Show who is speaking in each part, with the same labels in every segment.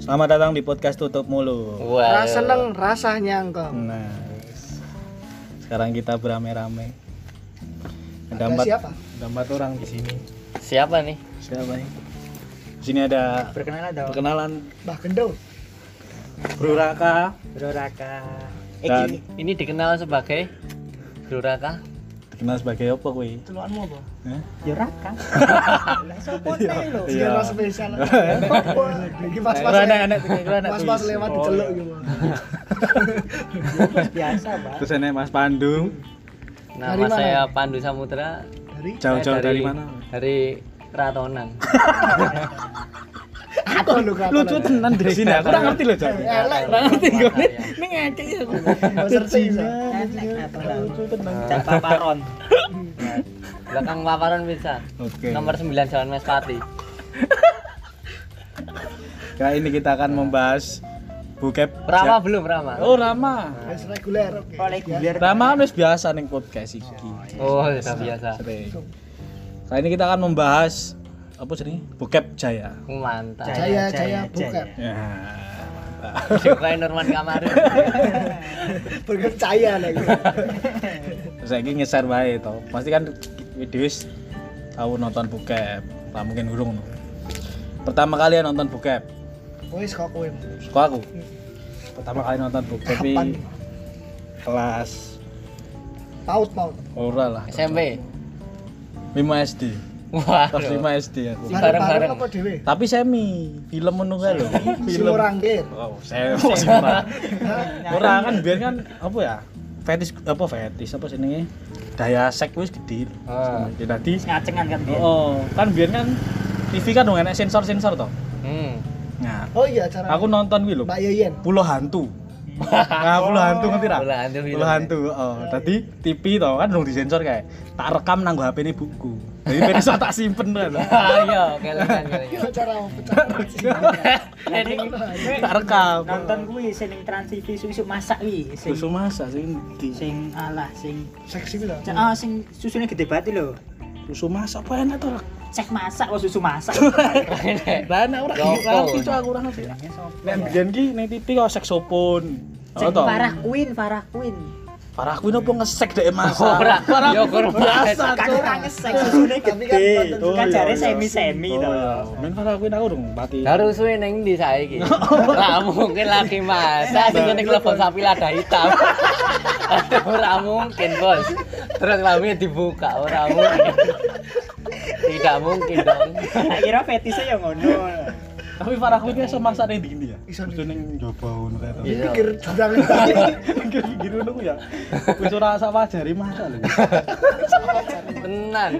Speaker 1: Selamat datang di podcast Tutup Mulu.
Speaker 2: Wah.
Speaker 3: Rasa seneng, rasa nyangkong.
Speaker 1: Nah, sekarang kita beramai-ramai.
Speaker 3: Ada
Speaker 1: Ada empat,
Speaker 3: siapa?
Speaker 1: ada empat orang di sini.
Speaker 2: Siapa nih?
Speaker 1: Siapa nih? Di sini ada
Speaker 4: Perkenalan dong.
Speaker 1: perkenalan
Speaker 3: Mbah Gendut.
Speaker 1: Bro Raka
Speaker 4: Bro Raka. Eh,
Speaker 1: dan
Speaker 2: Ini dikenal sebagai Duraka.
Speaker 1: dikenal sebagai apa kui?
Speaker 3: Celuanmu apa?
Speaker 1: Hah?
Speaker 4: Yo Raka. Lah sopo
Speaker 1: Iya.
Speaker 4: teh lo?
Speaker 3: Iya. Mas spesial. Iki pas-pas.
Speaker 1: Kira anak-anak, kira anak
Speaker 3: Pas-pas
Speaker 1: tulis.
Speaker 3: lewat
Speaker 1: Oh,
Speaker 3: diceluk
Speaker 1: iya.
Speaker 3: gitu.
Speaker 4: Biasa, Pak.
Speaker 1: Terus ada Mas Pandu,
Speaker 2: Nama
Speaker 3: Dari mana?
Speaker 2: saya Pandu Samutra.
Speaker 3: Dari
Speaker 1: jauh-jauh
Speaker 2: Saya
Speaker 1: dari, mana?
Speaker 2: Dari Ratonan.
Speaker 3: aku lu kata.
Speaker 1: Lucu tenan di sini, aku nggak ngerti loh Cak.
Speaker 3: Elek.
Speaker 2: Nanti
Speaker 4: Ini ngakek ya.
Speaker 3: Mbah Serti.
Speaker 1: Lucu tenan.
Speaker 4: Cat paparon.
Speaker 2: Belakang paparan bisa.
Speaker 1: Oke.
Speaker 2: Nomor 9 Jalan Mespati.
Speaker 1: Kali ini kita akan membahas bukep.
Speaker 2: Rama belum Rama.
Speaker 1: Oh Rama.
Speaker 3: Wes reguler. oke.
Speaker 4: Oleh gulir.
Speaker 1: Rama kan wis biasa nih podcast iki.
Speaker 3: iya.
Speaker 2: Oh, sudah biasa.
Speaker 1: Sering. Kali ini kita akan membahas apa sih Bukep Jaya.
Speaker 2: Mantap.
Speaker 3: Jaya, Jaya, bukan.
Speaker 1: Ya.
Speaker 2: Disukai Nurman Kamarin.
Speaker 3: Berkecaya lagi.
Speaker 1: Saya ini ngeser bae to. Pasti kan video tahu nonton bukep. Lah mungkin urung. no. Pertama kali yang nonton bukep,
Speaker 3: Wes kok kowe.
Speaker 1: suka aku. Pertama kali nonton bukep
Speaker 3: Kapan?
Speaker 1: ini kelas
Speaker 3: Paut paut.
Speaker 1: ora lah.
Speaker 2: SMP.
Speaker 1: 5 SD.
Speaker 2: Wah.
Speaker 1: Kelas 5 SD aku.
Speaker 2: Bareng-bareng.
Speaker 3: Bareng-bareng apa dhewe?
Speaker 1: Tapi semi film ngono kae lho.
Speaker 3: Si orang gir.
Speaker 1: Oh, saya Pak. Ora kan biar kan apa ya? Fetis apa fetis apa jenenge? Daya sek wis gede.
Speaker 2: Ah.
Speaker 1: Jadi tadi
Speaker 4: Ngacengan kan dia.
Speaker 1: oh, kan biar kan TV kan dong enak sensor-sensor toh.
Speaker 2: Hmm.
Speaker 1: Nah,
Speaker 3: Oh iya acara.
Speaker 1: aku nonton kuwi lho.
Speaker 3: Mbak Yeyen.
Speaker 1: Pulau hantu. Nah, pulau hantu ngerti ra?
Speaker 2: Bola hantu film.
Speaker 1: Pulau hantu. Oh, tadi TV toh kan dong disensor kayak. Tak rekam nang HP ini buku. Jadi ben iso tak simpen kan.
Speaker 2: Ah, iya, kelingan kelingan.
Speaker 3: Acara mau pecah.
Speaker 4: Jadi
Speaker 1: Tak rekam.
Speaker 4: nonton kuwi sing ning Trans TV isu masak kuwi sing
Speaker 1: Susu masak sih ini.
Speaker 4: sing alah sing
Speaker 3: Seksi gitu. bila.
Speaker 4: Cak, ah sing susunya gede banget lho.
Speaker 1: Susu masak apa enak toh?
Speaker 4: Cek masak kok susu masak.
Speaker 2: Eh,
Speaker 1: Lah nek ora
Speaker 2: Rokok.
Speaker 1: ngerti cok aku ora ngerti. Nek mbiyen ki ning TV kok seksopon.
Speaker 4: Cek Farah Queen, Farah Queen.
Speaker 1: Parah kuwi nopo ngesek dhek masak.
Speaker 2: Ora,
Speaker 1: Parah
Speaker 2: yo korban.
Speaker 1: biasa
Speaker 4: Kan
Speaker 1: cok.
Speaker 4: ora ngesek susune
Speaker 3: Nah, Tapi kan
Speaker 4: gede.
Speaker 3: konten-
Speaker 4: Kan
Speaker 1: iya,
Speaker 4: jare
Speaker 1: iya.
Speaker 4: semi-semi to.
Speaker 1: Oh, iya. Men parah kuwi aku dong mati.
Speaker 2: Harus suwe neng di saya gitu. Lah mungkin lagi masa sing ngene telepon sapi lada hitam. Aduh, Ora mungkin, Bos. Terus lami dibuka, ora mungkin. Tidak mungkin dong.
Speaker 4: Tak kira fetisnya ya ngono.
Speaker 1: Tapi parah kuwi iso masak ning ndi ya?
Speaker 3: Iso
Speaker 1: Iso ning njaba ngono kae to.
Speaker 2: Iya.
Speaker 3: Pikir jurang.
Speaker 1: Iya. Pinggir ngono kuwi ya. Wis ora sak wajari masak lho.
Speaker 2: Tenan.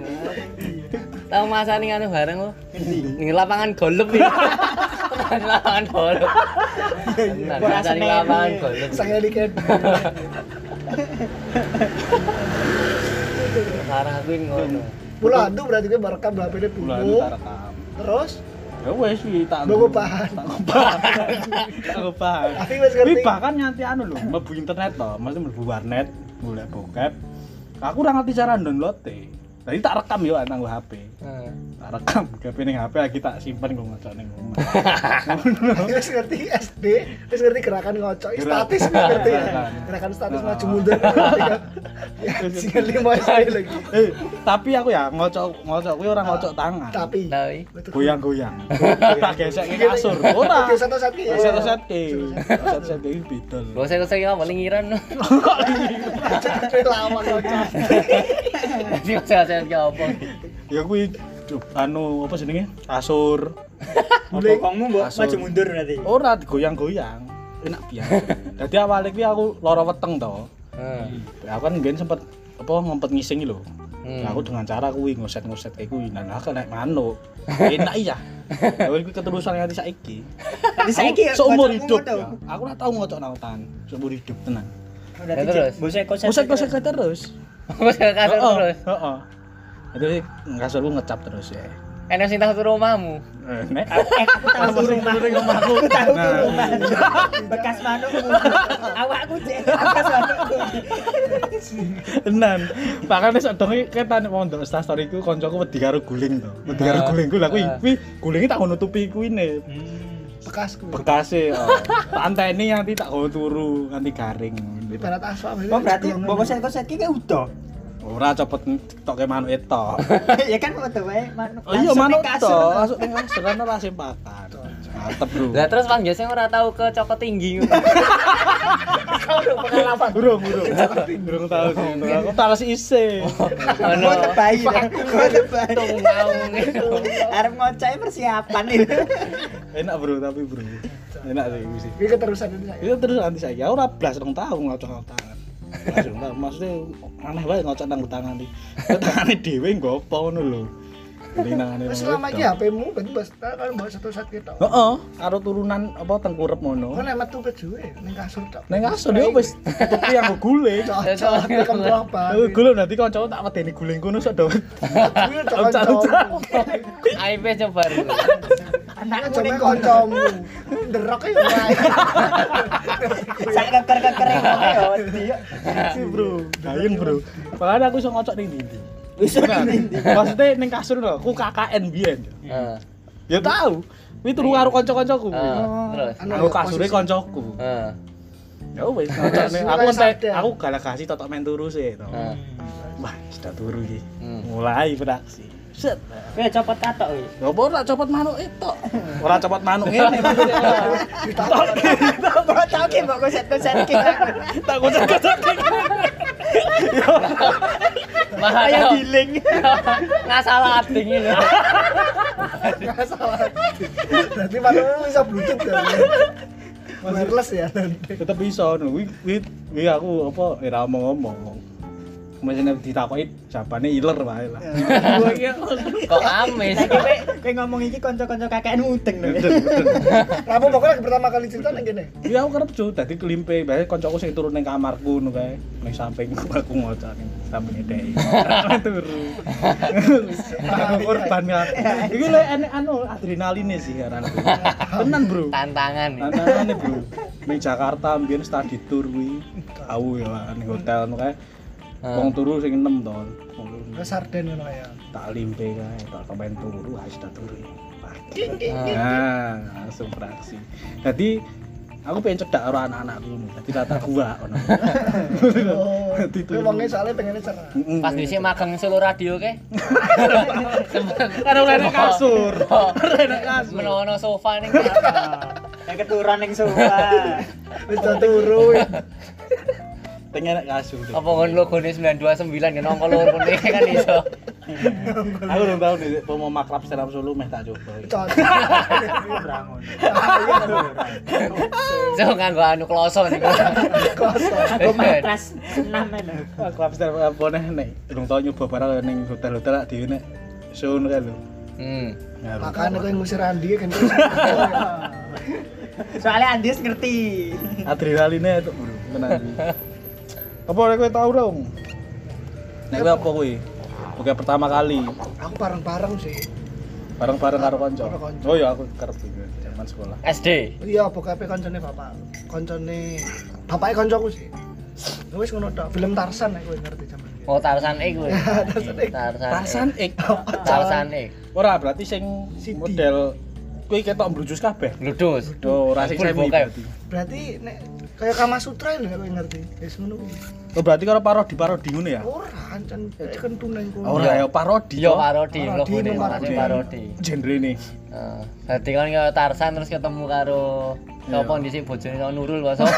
Speaker 2: Tahu masa nih anu bareng lo? Nih lapangan golf ini. Tenan lapangan golf. Tenan
Speaker 4: Ora
Speaker 2: masa ning
Speaker 4: seneng.
Speaker 2: lapangan golf.
Speaker 3: Saya dikit.
Speaker 2: Parah aku ini ngono.
Speaker 3: Pulau hantu berarti gue merekam berapa ini
Speaker 1: Bulan
Speaker 3: buku.
Speaker 1: tak rekam.
Speaker 3: Terus
Speaker 1: Ya wis wi tak.
Speaker 3: Nunggu bahan.
Speaker 1: Tak bahan. Tak bahan.
Speaker 3: Tapi wis ngerti.
Speaker 1: Wih bahkan nyanti anu lho, mlebu internet to, mesti mlebu warnet, mulai bokep. Aku ora ngerti cara download e. Jadi tak rekam yo nang nggo HP.
Speaker 2: Hmm.
Speaker 1: Tak rekam HP ning HP lagi tak simpen nggo ngajak ning omah.
Speaker 3: Wis ngerti SD, wis ngerti gerakan ngocok, Ih,
Speaker 1: Gerak-
Speaker 3: statis gue ngerti ya.
Speaker 1: gerakan.
Speaker 3: Gerakan statis
Speaker 1: Ah.
Speaker 3: maju mundur. Ya, tinggal lima sekali lagi.
Speaker 1: Eh, tapi aku ya ngocok ngocok kuwi ora ngocok tangan.
Speaker 3: Ah, Tapi
Speaker 2: Tapi
Speaker 3: betul.
Speaker 1: Goyang-goyang. Tak gesek ke kasur. Ora.
Speaker 3: Oke, satu satu ya.
Speaker 1: Satu set ke. Satu set ke beda lho.
Speaker 2: Gak usah usah ya, paling ngiran.
Speaker 3: Tapi lama ngocok.
Speaker 2: Nanti gak usah usah ya apa.
Speaker 1: Ya kuwi anu apa jenenge? Kasur.
Speaker 3: Guling.
Speaker 4: Bokongmu mbok
Speaker 1: Kasur.
Speaker 4: maju mundur berarti.
Speaker 1: Ora digoyang-goyang. Enak biasa. Dadi awalnya kuwi aku lara weteng to.
Speaker 2: Hmm.
Speaker 1: Aku kan biyen sempet apa ngempet ngising iki lho. Ya,
Speaker 2: Hmm.
Speaker 1: aku dengan cara kuwi ngoset-ngoset kayak kuwi nah aku naik manuk. Enak iya. Ya kuwi keterusan nganti saiki.
Speaker 4: Tapi saiki
Speaker 1: Aku seumur
Speaker 4: bocahmu
Speaker 1: hidup. ya.
Speaker 4: ngono.
Speaker 1: Aku ora tau ngocok nang utan. Seumur hidup tenang.
Speaker 4: Berarti
Speaker 2: Ya, terus?
Speaker 4: cek, mbok sek konsep-
Speaker 1: Ngoset-ngoset kayak terus.
Speaker 2: Wes gak kasar
Speaker 1: Heeh,
Speaker 2: terus.
Speaker 1: Heeh. Jadi kasurku ngecap terus ya.
Speaker 2: Enak sing tahu rumahmu.
Speaker 1: Eh, Nek.
Speaker 4: Eh, aku tahu
Speaker 1: Aku
Speaker 4: turun
Speaker 1: sering
Speaker 4: Pak.
Speaker 1: ngomong aku.
Speaker 4: tahu
Speaker 1: Nah,
Speaker 4: turun Pak. bekas manuk awakku jek bekas manuk
Speaker 1: Tenan. Makane sak donge ketan mondok Insta story ku kancaku wedi karo guling to. Wedi karo
Speaker 2: Ah.
Speaker 1: guling ku lha kuwi
Speaker 2: Ah.
Speaker 3: Hmm.
Speaker 1: kuwi gulinge tak nutupi kuwi ne.
Speaker 3: bekasku.
Speaker 1: bekasnya oh. tak anteni nanti tak kau turu nanti garing
Speaker 3: Ibarat aswak
Speaker 4: Oh berarti mbok konsep-konsep iki udah.
Speaker 1: ora copot tok ke manuk itu
Speaker 4: ya kan foto wae manuk.
Speaker 1: Oh iya
Speaker 4: langsung
Speaker 1: manuk
Speaker 4: ning
Speaker 1: to,
Speaker 4: kasur.
Speaker 1: langsung ning kasur ana ra sempakan. Mantep, Bro.
Speaker 2: Lah terus Bang Jose ora tahu ke Coko Tinggi.
Speaker 1: Pengalaman burung, burung. Burung tahu sih. Aku tahu si ise.
Speaker 4: Oh.
Speaker 2: Ono
Speaker 4: Mau tebai dah. Mau tebai.
Speaker 2: tung ngaung.
Speaker 4: Arep ngocai persiapan itu.
Speaker 1: Enak, Bro, tapi Bro. Enak sih mesti.
Speaker 3: Ini keterusan ini saya.
Speaker 1: Itu Iya, terus nanti saya ya ora blas rong tahu ngocok tangan. Langsung tak maksudnya aneh banget ngocok nang tangan iki. Tangane dhewe nggopo ngono lho. Ini nangane.
Speaker 3: Terus
Speaker 1: wong
Speaker 3: selama
Speaker 1: wedok.
Speaker 3: iki ya? HP-mu berarti bahas kan bahas satu saat kita.
Speaker 1: Heeh, karo turunan apa tengkurep ngono.
Speaker 3: Kan emang tuh kejuwe ning kasur tok.
Speaker 1: Neng kasur dia wis bukti yang gue guling.
Speaker 3: Cocok tekan propan.
Speaker 1: Aku guling nanti kanca tak medeni guling kono sok dawet.
Speaker 3: Kuwi cocok
Speaker 1: Ucap-ucap.
Speaker 2: IP coba dulu.
Speaker 4: Anakku
Speaker 3: Coba
Speaker 4: ning kanca.
Speaker 3: kancamu. Nderok ae wae.
Speaker 4: Sak keker-keker Ya, wae yo. Dio.
Speaker 1: Si bro, Gayun bro. Makanya aku iso ngocok ning ndi.
Speaker 4: Wis
Speaker 1: Nah, maksudnya ning kasur lho, aku KKN biyen.
Speaker 2: Heeh.
Speaker 1: Ya tahu, kuwi turu karo kanca-kancaku.
Speaker 2: Heeh, Terus.
Speaker 3: Anu,
Speaker 1: Aku kasure
Speaker 3: posisi-
Speaker 1: kancaku.
Speaker 2: Heeh.
Speaker 1: Ya wis, ngocokne.
Speaker 3: Suwe
Speaker 1: Aku ente
Speaker 3: sadar.
Speaker 1: aku galak kasih totok men turu sih to.
Speaker 2: Heeh.
Speaker 1: Wah, sudah turu iki.
Speaker 2: Hmm.
Speaker 1: Mulai beraksi. Set.
Speaker 4: Weh copot katok weh.
Speaker 1: Ya apa ora copot manuk itu? Ora copot manuk ngene.
Speaker 4: Mbok tau ki mbok konsep-konsep ki.
Speaker 1: Tak kocok-kocok.
Speaker 2: Hmm. Malah
Speaker 4: Kayak
Speaker 2: tau-
Speaker 4: giling.
Speaker 2: Ngasalah ading ini.
Speaker 3: Nggak salah. Berarti manukmu bisa bluetooth ya. Wireless ya.
Speaker 1: tetep bisa no. Wi- wi- wi aku apa ora ngomong-ngomong Masih ditakoki jawabane iler wae lah. Gua iki aku
Speaker 2: Kok amis?
Speaker 4: Saiki kowe kowe ngomong iki kanca-kanca kakek mudeng lho.
Speaker 1: Bener, bener.
Speaker 3: Kamu pokoknya pertama kali cerita nang kene.
Speaker 1: Iya aku kerep jo dadi kelimpe, bae kancaku sing turun ning kamarku ngono kae. Ning sampingku aku ngocok ning sampinge dhek. Ora turu. Aku korban aku. Iki lek enek anu adrenaline sih heranku. Tenan, Bro.
Speaker 2: Tantangan. nih.
Speaker 1: Tantangan nih bro, di Jakarta ambien study tour wi, tahu ya di hotel makanya,
Speaker 2: Hmm.
Speaker 1: wong turu sing enam ton, Wong turu.
Speaker 3: Ke sarden ngono ya.
Speaker 1: tak limpe kae, tak kepen turu, ah sudah turu.
Speaker 3: King king.
Speaker 1: Nah, Ah, langsung beraksi. Jadi aku pengen cedak karo anak-anakku ngono. Dadi rata gua ngono.
Speaker 3: Oh,
Speaker 1: Dadi
Speaker 3: itu wongnya soalnya pengennya cerah.
Speaker 1: Mm-mm.
Speaker 2: Pas dhisik magang solo radio ke.
Speaker 1: Karena udah ada kasur. Ada kasur.
Speaker 2: Menono sofa ning.
Speaker 4: Yang keturunan ning sofa.
Speaker 3: Wis turu.
Speaker 1: Pengen ada kasur. deh.
Speaker 2: Apa ngon logone 929 kan nongko lur kene kan iso.
Speaker 1: Aku belum tahu nih, mau mau makrab seram solo meh tak coba.
Speaker 3: Cocok.
Speaker 2: So nganggo anu kloso niku.
Speaker 4: Aku matras 6 lho.
Speaker 1: Makrab seram apa neh nih? Belum tahu nyoba barang ning hotel-hotel lah di nek. Sun kan lho.
Speaker 2: Hmm.
Speaker 1: Ngaruh.
Speaker 3: Makanya kau yang ngusir Andi kan.
Speaker 4: Soalnya Andis ngerti.
Speaker 1: adrenalinnya itu bro tenang apa orang kowe tau dong nek kowe apa kowe oke pertama kali
Speaker 3: Aku parang-parang sih.
Speaker 1: bareng-bareng karo kanca
Speaker 3: Karo kanca.
Speaker 1: oh iya aku kerep gitu zaman sekolah
Speaker 2: SD.
Speaker 3: Iya, pokoknya koncone bapak. Koncone bapaknya koncoku sih. Wis ngono tok, film Tarsan nek kowe ngerti jaman iki.
Speaker 2: Oh Tarzan X kuwi. E. Tarzan. Tarzan.
Speaker 1: Tarzan ik
Speaker 2: Tarzan
Speaker 1: Eh,
Speaker 2: X.
Speaker 1: ora berarti sing
Speaker 3: Siti.
Speaker 1: model kowe ketok brujus kabeh
Speaker 2: Ludus.
Speaker 1: do ora sing
Speaker 2: Full
Speaker 1: semi
Speaker 2: bokep.
Speaker 1: berarti
Speaker 3: Berarti nek kaya Kama Sutra lho nek kowe ngerti. Wis ngono kuwi.
Speaker 1: oh berarti karo parodi parodi ngono ya
Speaker 3: Ora ancen kayak kentunan kuwi.
Speaker 1: ora ya parodi
Speaker 2: Dia
Speaker 1: yo
Speaker 2: Iya. parodi
Speaker 3: Parodi,
Speaker 2: logone
Speaker 3: ini
Speaker 2: parodi.
Speaker 3: parodi.
Speaker 2: parodi.
Speaker 1: genre nih
Speaker 2: Heeh. Dadi kan kaya Tarzan terus ketemu karo
Speaker 1: Iya.
Speaker 2: Sopo dhisik bojone karo Nurul kok sapa?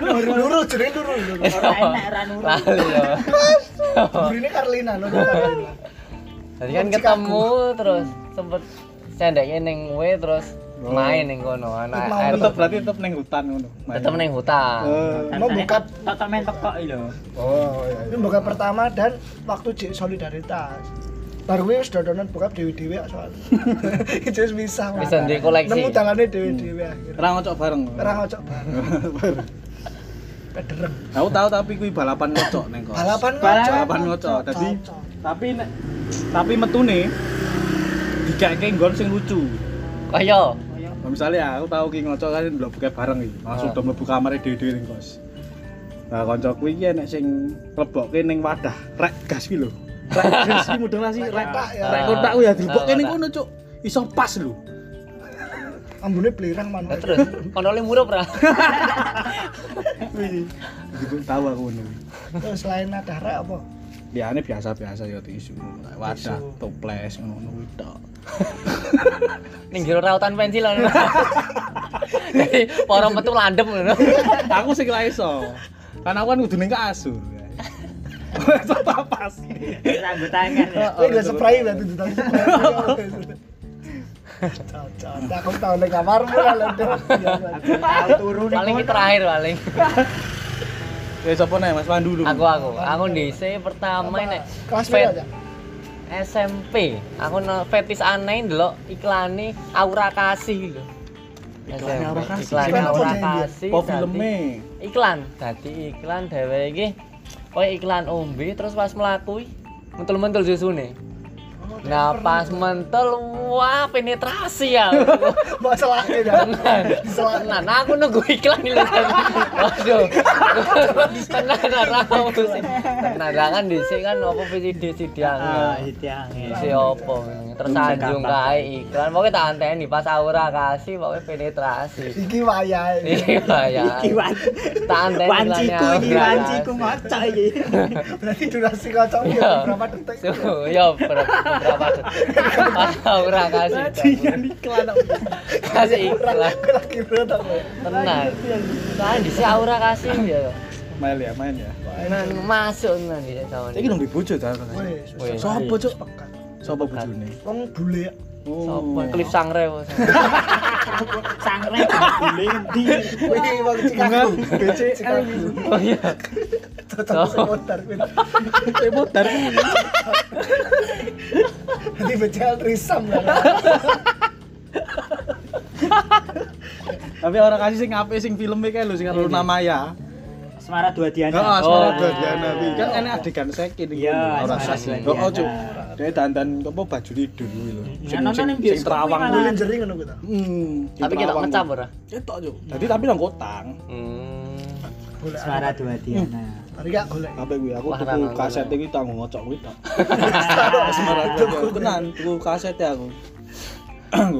Speaker 3: luru luru jenenge luru luru.
Speaker 4: Ora enak ra nurut.
Speaker 2: Lali ya.
Speaker 3: Burine Karlina lho Karlina.
Speaker 2: Tadi kan ketemu terus sempet sendeknya neng we terus
Speaker 1: Oh.
Speaker 2: main neng kono anak
Speaker 3: Mau
Speaker 2: air
Speaker 1: tetep berarti tetep ning hutan ngono Main.
Speaker 2: tetep neng hutan.
Speaker 1: Eh,
Speaker 3: Mau buka-
Speaker 4: toto men tekok iki lho.
Speaker 1: oh iya,
Speaker 3: Ini buka pertama dan waktu Cik solidaritas. Baru wis dodonan buka dewe-dewe soal. Itu wis bisa.
Speaker 2: Bisa di koleksi.
Speaker 3: Nemu tangane dewe-dewe
Speaker 1: iya.
Speaker 3: akhirnya.
Speaker 1: ra ngocok bareng
Speaker 3: Ora ngocok bareng. Kedereng.
Speaker 1: aku tahu tapi kuwi balapan ngocok neng kos
Speaker 3: Balapan
Speaker 4: Balapan
Speaker 3: ngocok.
Speaker 1: Balapan ngocok. Dadi
Speaker 3: Cocok.
Speaker 1: tapi nek- tapi metune dikake nggon sing lucu.
Speaker 2: Kaya
Speaker 1: Nah, misalnya aku tau ki ngocok kan ndelok buka bareng iki. Langsung
Speaker 2: Ah.
Speaker 1: do mlebu kamare dhewe-dhewe ning kos. Nah, kanca kuwi iki enek sing lebokke ning wadah rek gas ki lho. Rek gas ki mudeng lah sih rek
Speaker 3: Kotak ya.
Speaker 1: rek kotak kuwi ya dilebokke ning kono, Cuk. iso pas lho.
Speaker 3: ambune pelirang
Speaker 2: Nah,
Speaker 3: mana
Speaker 2: terus kontrolnya murup ra.
Speaker 1: Wih, Iku tahu aku ngono.
Speaker 3: terus selain ada rak apa
Speaker 1: Liyane biasa-biasa ya tisu, wadah, toples ngono-ngono kuwi tok.
Speaker 2: Ning jero rautan pensil ngono. Jadi, Para metu landep ngono.
Speaker 1: Aku sing ra iso. Karena aku kan kudu ning kasur. Wes pas.
Speaker 4: Rambut tangan.
Speaker 1: Heeh,
Speaker 4: ya.
Speaker 3: Kowe gak
Speaker 1: betul.
Speaker 3: spray berarti di tangan. Cocok. Nah, Aku tahu ning kamarmu lah Lodok. Iya, berarti.
Speaker 4: Tahu turu nih.
Speaker 2: Paling ini terakhir paling.
Speaker 1: Ya sapa nek Mas Pandu dulu.
Speaker 2: Aku aku, aku DC pertama nek
Speaker 3: Kelas
Speaker 2: Fet-
Speaker 3: berapa aja?
Speaker 2: SMP. Aku no, fetis aneh ndelok iklane Aura Kasih gitu. lho.
Speaker 1: Iklane
Speaker 2: SMP.
Speaker 1: Aura Kasih?
Speaker 2: Iklane
Speaker 3: Iklan apa
Speaker 2: Aura
Speaker 3: dia?
Speaker 2: Kasih.
Speaker 1: Apa
Speaker 2: dadi-
Speaker 1: filme?
Speaker 2: Iklan, dadi iklan dhewe iki. Koe iklan ombe terus pas mlaku iki, mentul-mentul susune.
Speaker 3: Oh,
Speaker 2: Nah pas mentul wah penetrasi ya.
Speaker 3: Mbak selake ya. Diselake.
Speaker 2: Tenan, aku nunggu iklan ini. Waduh. Tenan ra aku sih. Tenan ra kan dhisik kan opo VCD CD
Speaker 4: Ah,
Speaker 2: aku.
Speaker 4: itu yang ya.
Speaker 2: Isi opo tersanjung kae iklan. Pokoke tak anteni pas aura kasih pokoke penetrasi.
Speaker 3: Iki wayahe.
Speaker 2: Iya ya.
Speaker 4: Iki wan.
Speaker 2: Tak anteni
Speaker 4: Wanciku
Speaker 2: iklannya
Speaker 4: ini
Speaker 2: Aura
Speaker 4: wanciku
Speaker 2: Kasih.
Speaker 4: ngocok iki.
Speaker 3: Berarti durasi kocokmu
Speaker 2: Iya.
Speaker 3: ya berapa detik?
Speaker 2: Suhu, ya beberapa beberapa detik. Pas aura kasih.
Speaker 1: Jangan iklan
Speaker 2: Kasih iklan.
Speaker 3: Aku lagi rotok.
Speaker 2: Tenan. Kan dhisik aura kasih ya.
Speaker 1: Main ya, main ya.
Speaker 2: Tenan masuk nah, tenan dhisik tahun
Speaker 1: Iki nang bojo ta.
Speaker 3: Wes.
Speaker 2: Weh.
Speaker 1: Sopo cuk?
Speaker 3: Pekan.
Speaker 1: Sopo bojone? Oh.
Speaker 3: Wong bule ya.
Speaker 2: Sopo
Speaker 1: Hmm.
Speaker 2: klip sangre bos.
Speaker 4: Sangre boleh ngendi?
Speaker 3: Wih, wong Chicago. BCL.
Speaker 2: Oh iya. Oh.
Speaker 3: Cocok seputar.
Speaker 1: Seputar.
Speaker 3: Nanti BCL risam lah.
Speaker 1: Tapi orang kasih sing apik sing filme kae lho sing
Speaker 4: Iya,
Speaker 1: karo Luna Maya.
Speaker 4: Asmara dua Diana.
Speaker 1: Heeh, asmara
Speaker 2: Oh.
Speaker 1: dua Diana kuwi. Kan ene adegan seki niku.
Speaker 4: Iya,
Speaker 1: Ora
Speaker 4: asmara
Speaker 1: sah.
Speaker 4: dua
Speaker 1: Heeh,
Speaker 4: Diana.
Speaker 1: cuk. Dhewe dandan apa baju tidur kuwi lho.
Speaker 4: Iya,
Speaker 1: Sing
Speaker 4: nonton
Speaker 1: sing-
Speaker 4: yang
Speaker 1: sing
Speaker 4: bioskop
Speaker 1: terawang
Speaker 4: kuwi
Speaker 1: kuwi.
Speaker 3: Bule jering ngono kuwi ta.
Speaker 1: Hmm,
Speaker 2: Tapi kita ngecap ora.
Speaker 1: Ketok, Cuk. Dadi tapi nang kotang.
Speaker 2: Hmm.
Speaker 3: Bule.
Speaker 4: Asmara dua Diana.
Speaker 3: Tadi gak golek.
Speaker 1: Apa kuwi aku
Speaker 2: Wah,
Speaker 1: tuku
Speaker 2: nang-
Speaker 1: kaset
Speaker 2: nang-
Speaker 1: iki tanggung ngocok kuwi tok. Asmara tuku tenan, tuku kaset ya aku.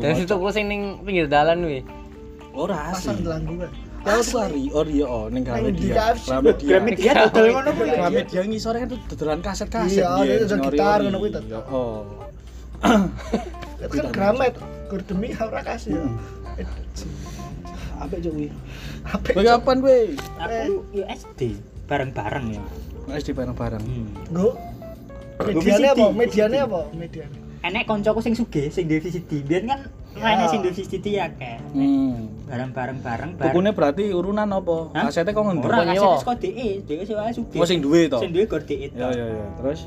Speaker 2: Dan situ aku sing ning pinggir dalan kuwi.
Speaker 1: Ora
Speaker 3: Pasar
Speaker 1: asli.
Speaker 3: delanggu kan.
Speaker 1: Kalau tuh hari Oreo oh, neng
Speaker 3: di
Speaker 1: Gramedia.
Speaker 3: KFC.
Speaker 1: Gramedia.
Speaker 4: Dia dodol ngono kuwi.
Speaker 1: Gramedia ngisore kan tuh dodolan kaset-kaset.
Speaker 3: Iya,
Speaker 1: biyen,
Speaker 3: itu
Speaker 1: sing ori-ori.
Speaker 3: gitar ngono kuwi tuh.
Speaker 1: Yo, Oh.
Speaker 3: Itu kan gramet. Kur demi ora kasih ya.
Speaker 1: Apa cuk kuwi?
Speaker 3: Apik.
Speaker 1: Kowe kapan kowe?
Speaker 4: Aku USD bareng-bareng ya. Hmm.
Speaker 1: Wis di bareng-bareng.
Speaker 3: Hmm. Go. Medianya apa? Medianya apa? Medianya.
Speaker 4: Enek koncoku sing sugih sing di VCD. Biyen kan rene sing di VCD ya kayak.
Speaker 1: Hmm.
Speaker 4: Bareng-bareng bareng bareng.
Speaker 1: Tukune berarti urunan apa?
Speaker 4: Hah?
Speaker 1: Kasete kok ngendi?
Speaker 4: Ora
Speaker 2: Bukan
Speaker 4: kasih
Speaker 2: nyewa.
Speaker 4: wis kode E, dhewe sewae sugih.
Speaker 1: Oh sing duwe to.
Speaker 4: Sing duwe gor
Speaker 1: Ya
Speaker 4: DE tok.
Speaker 1: ya ya. Terus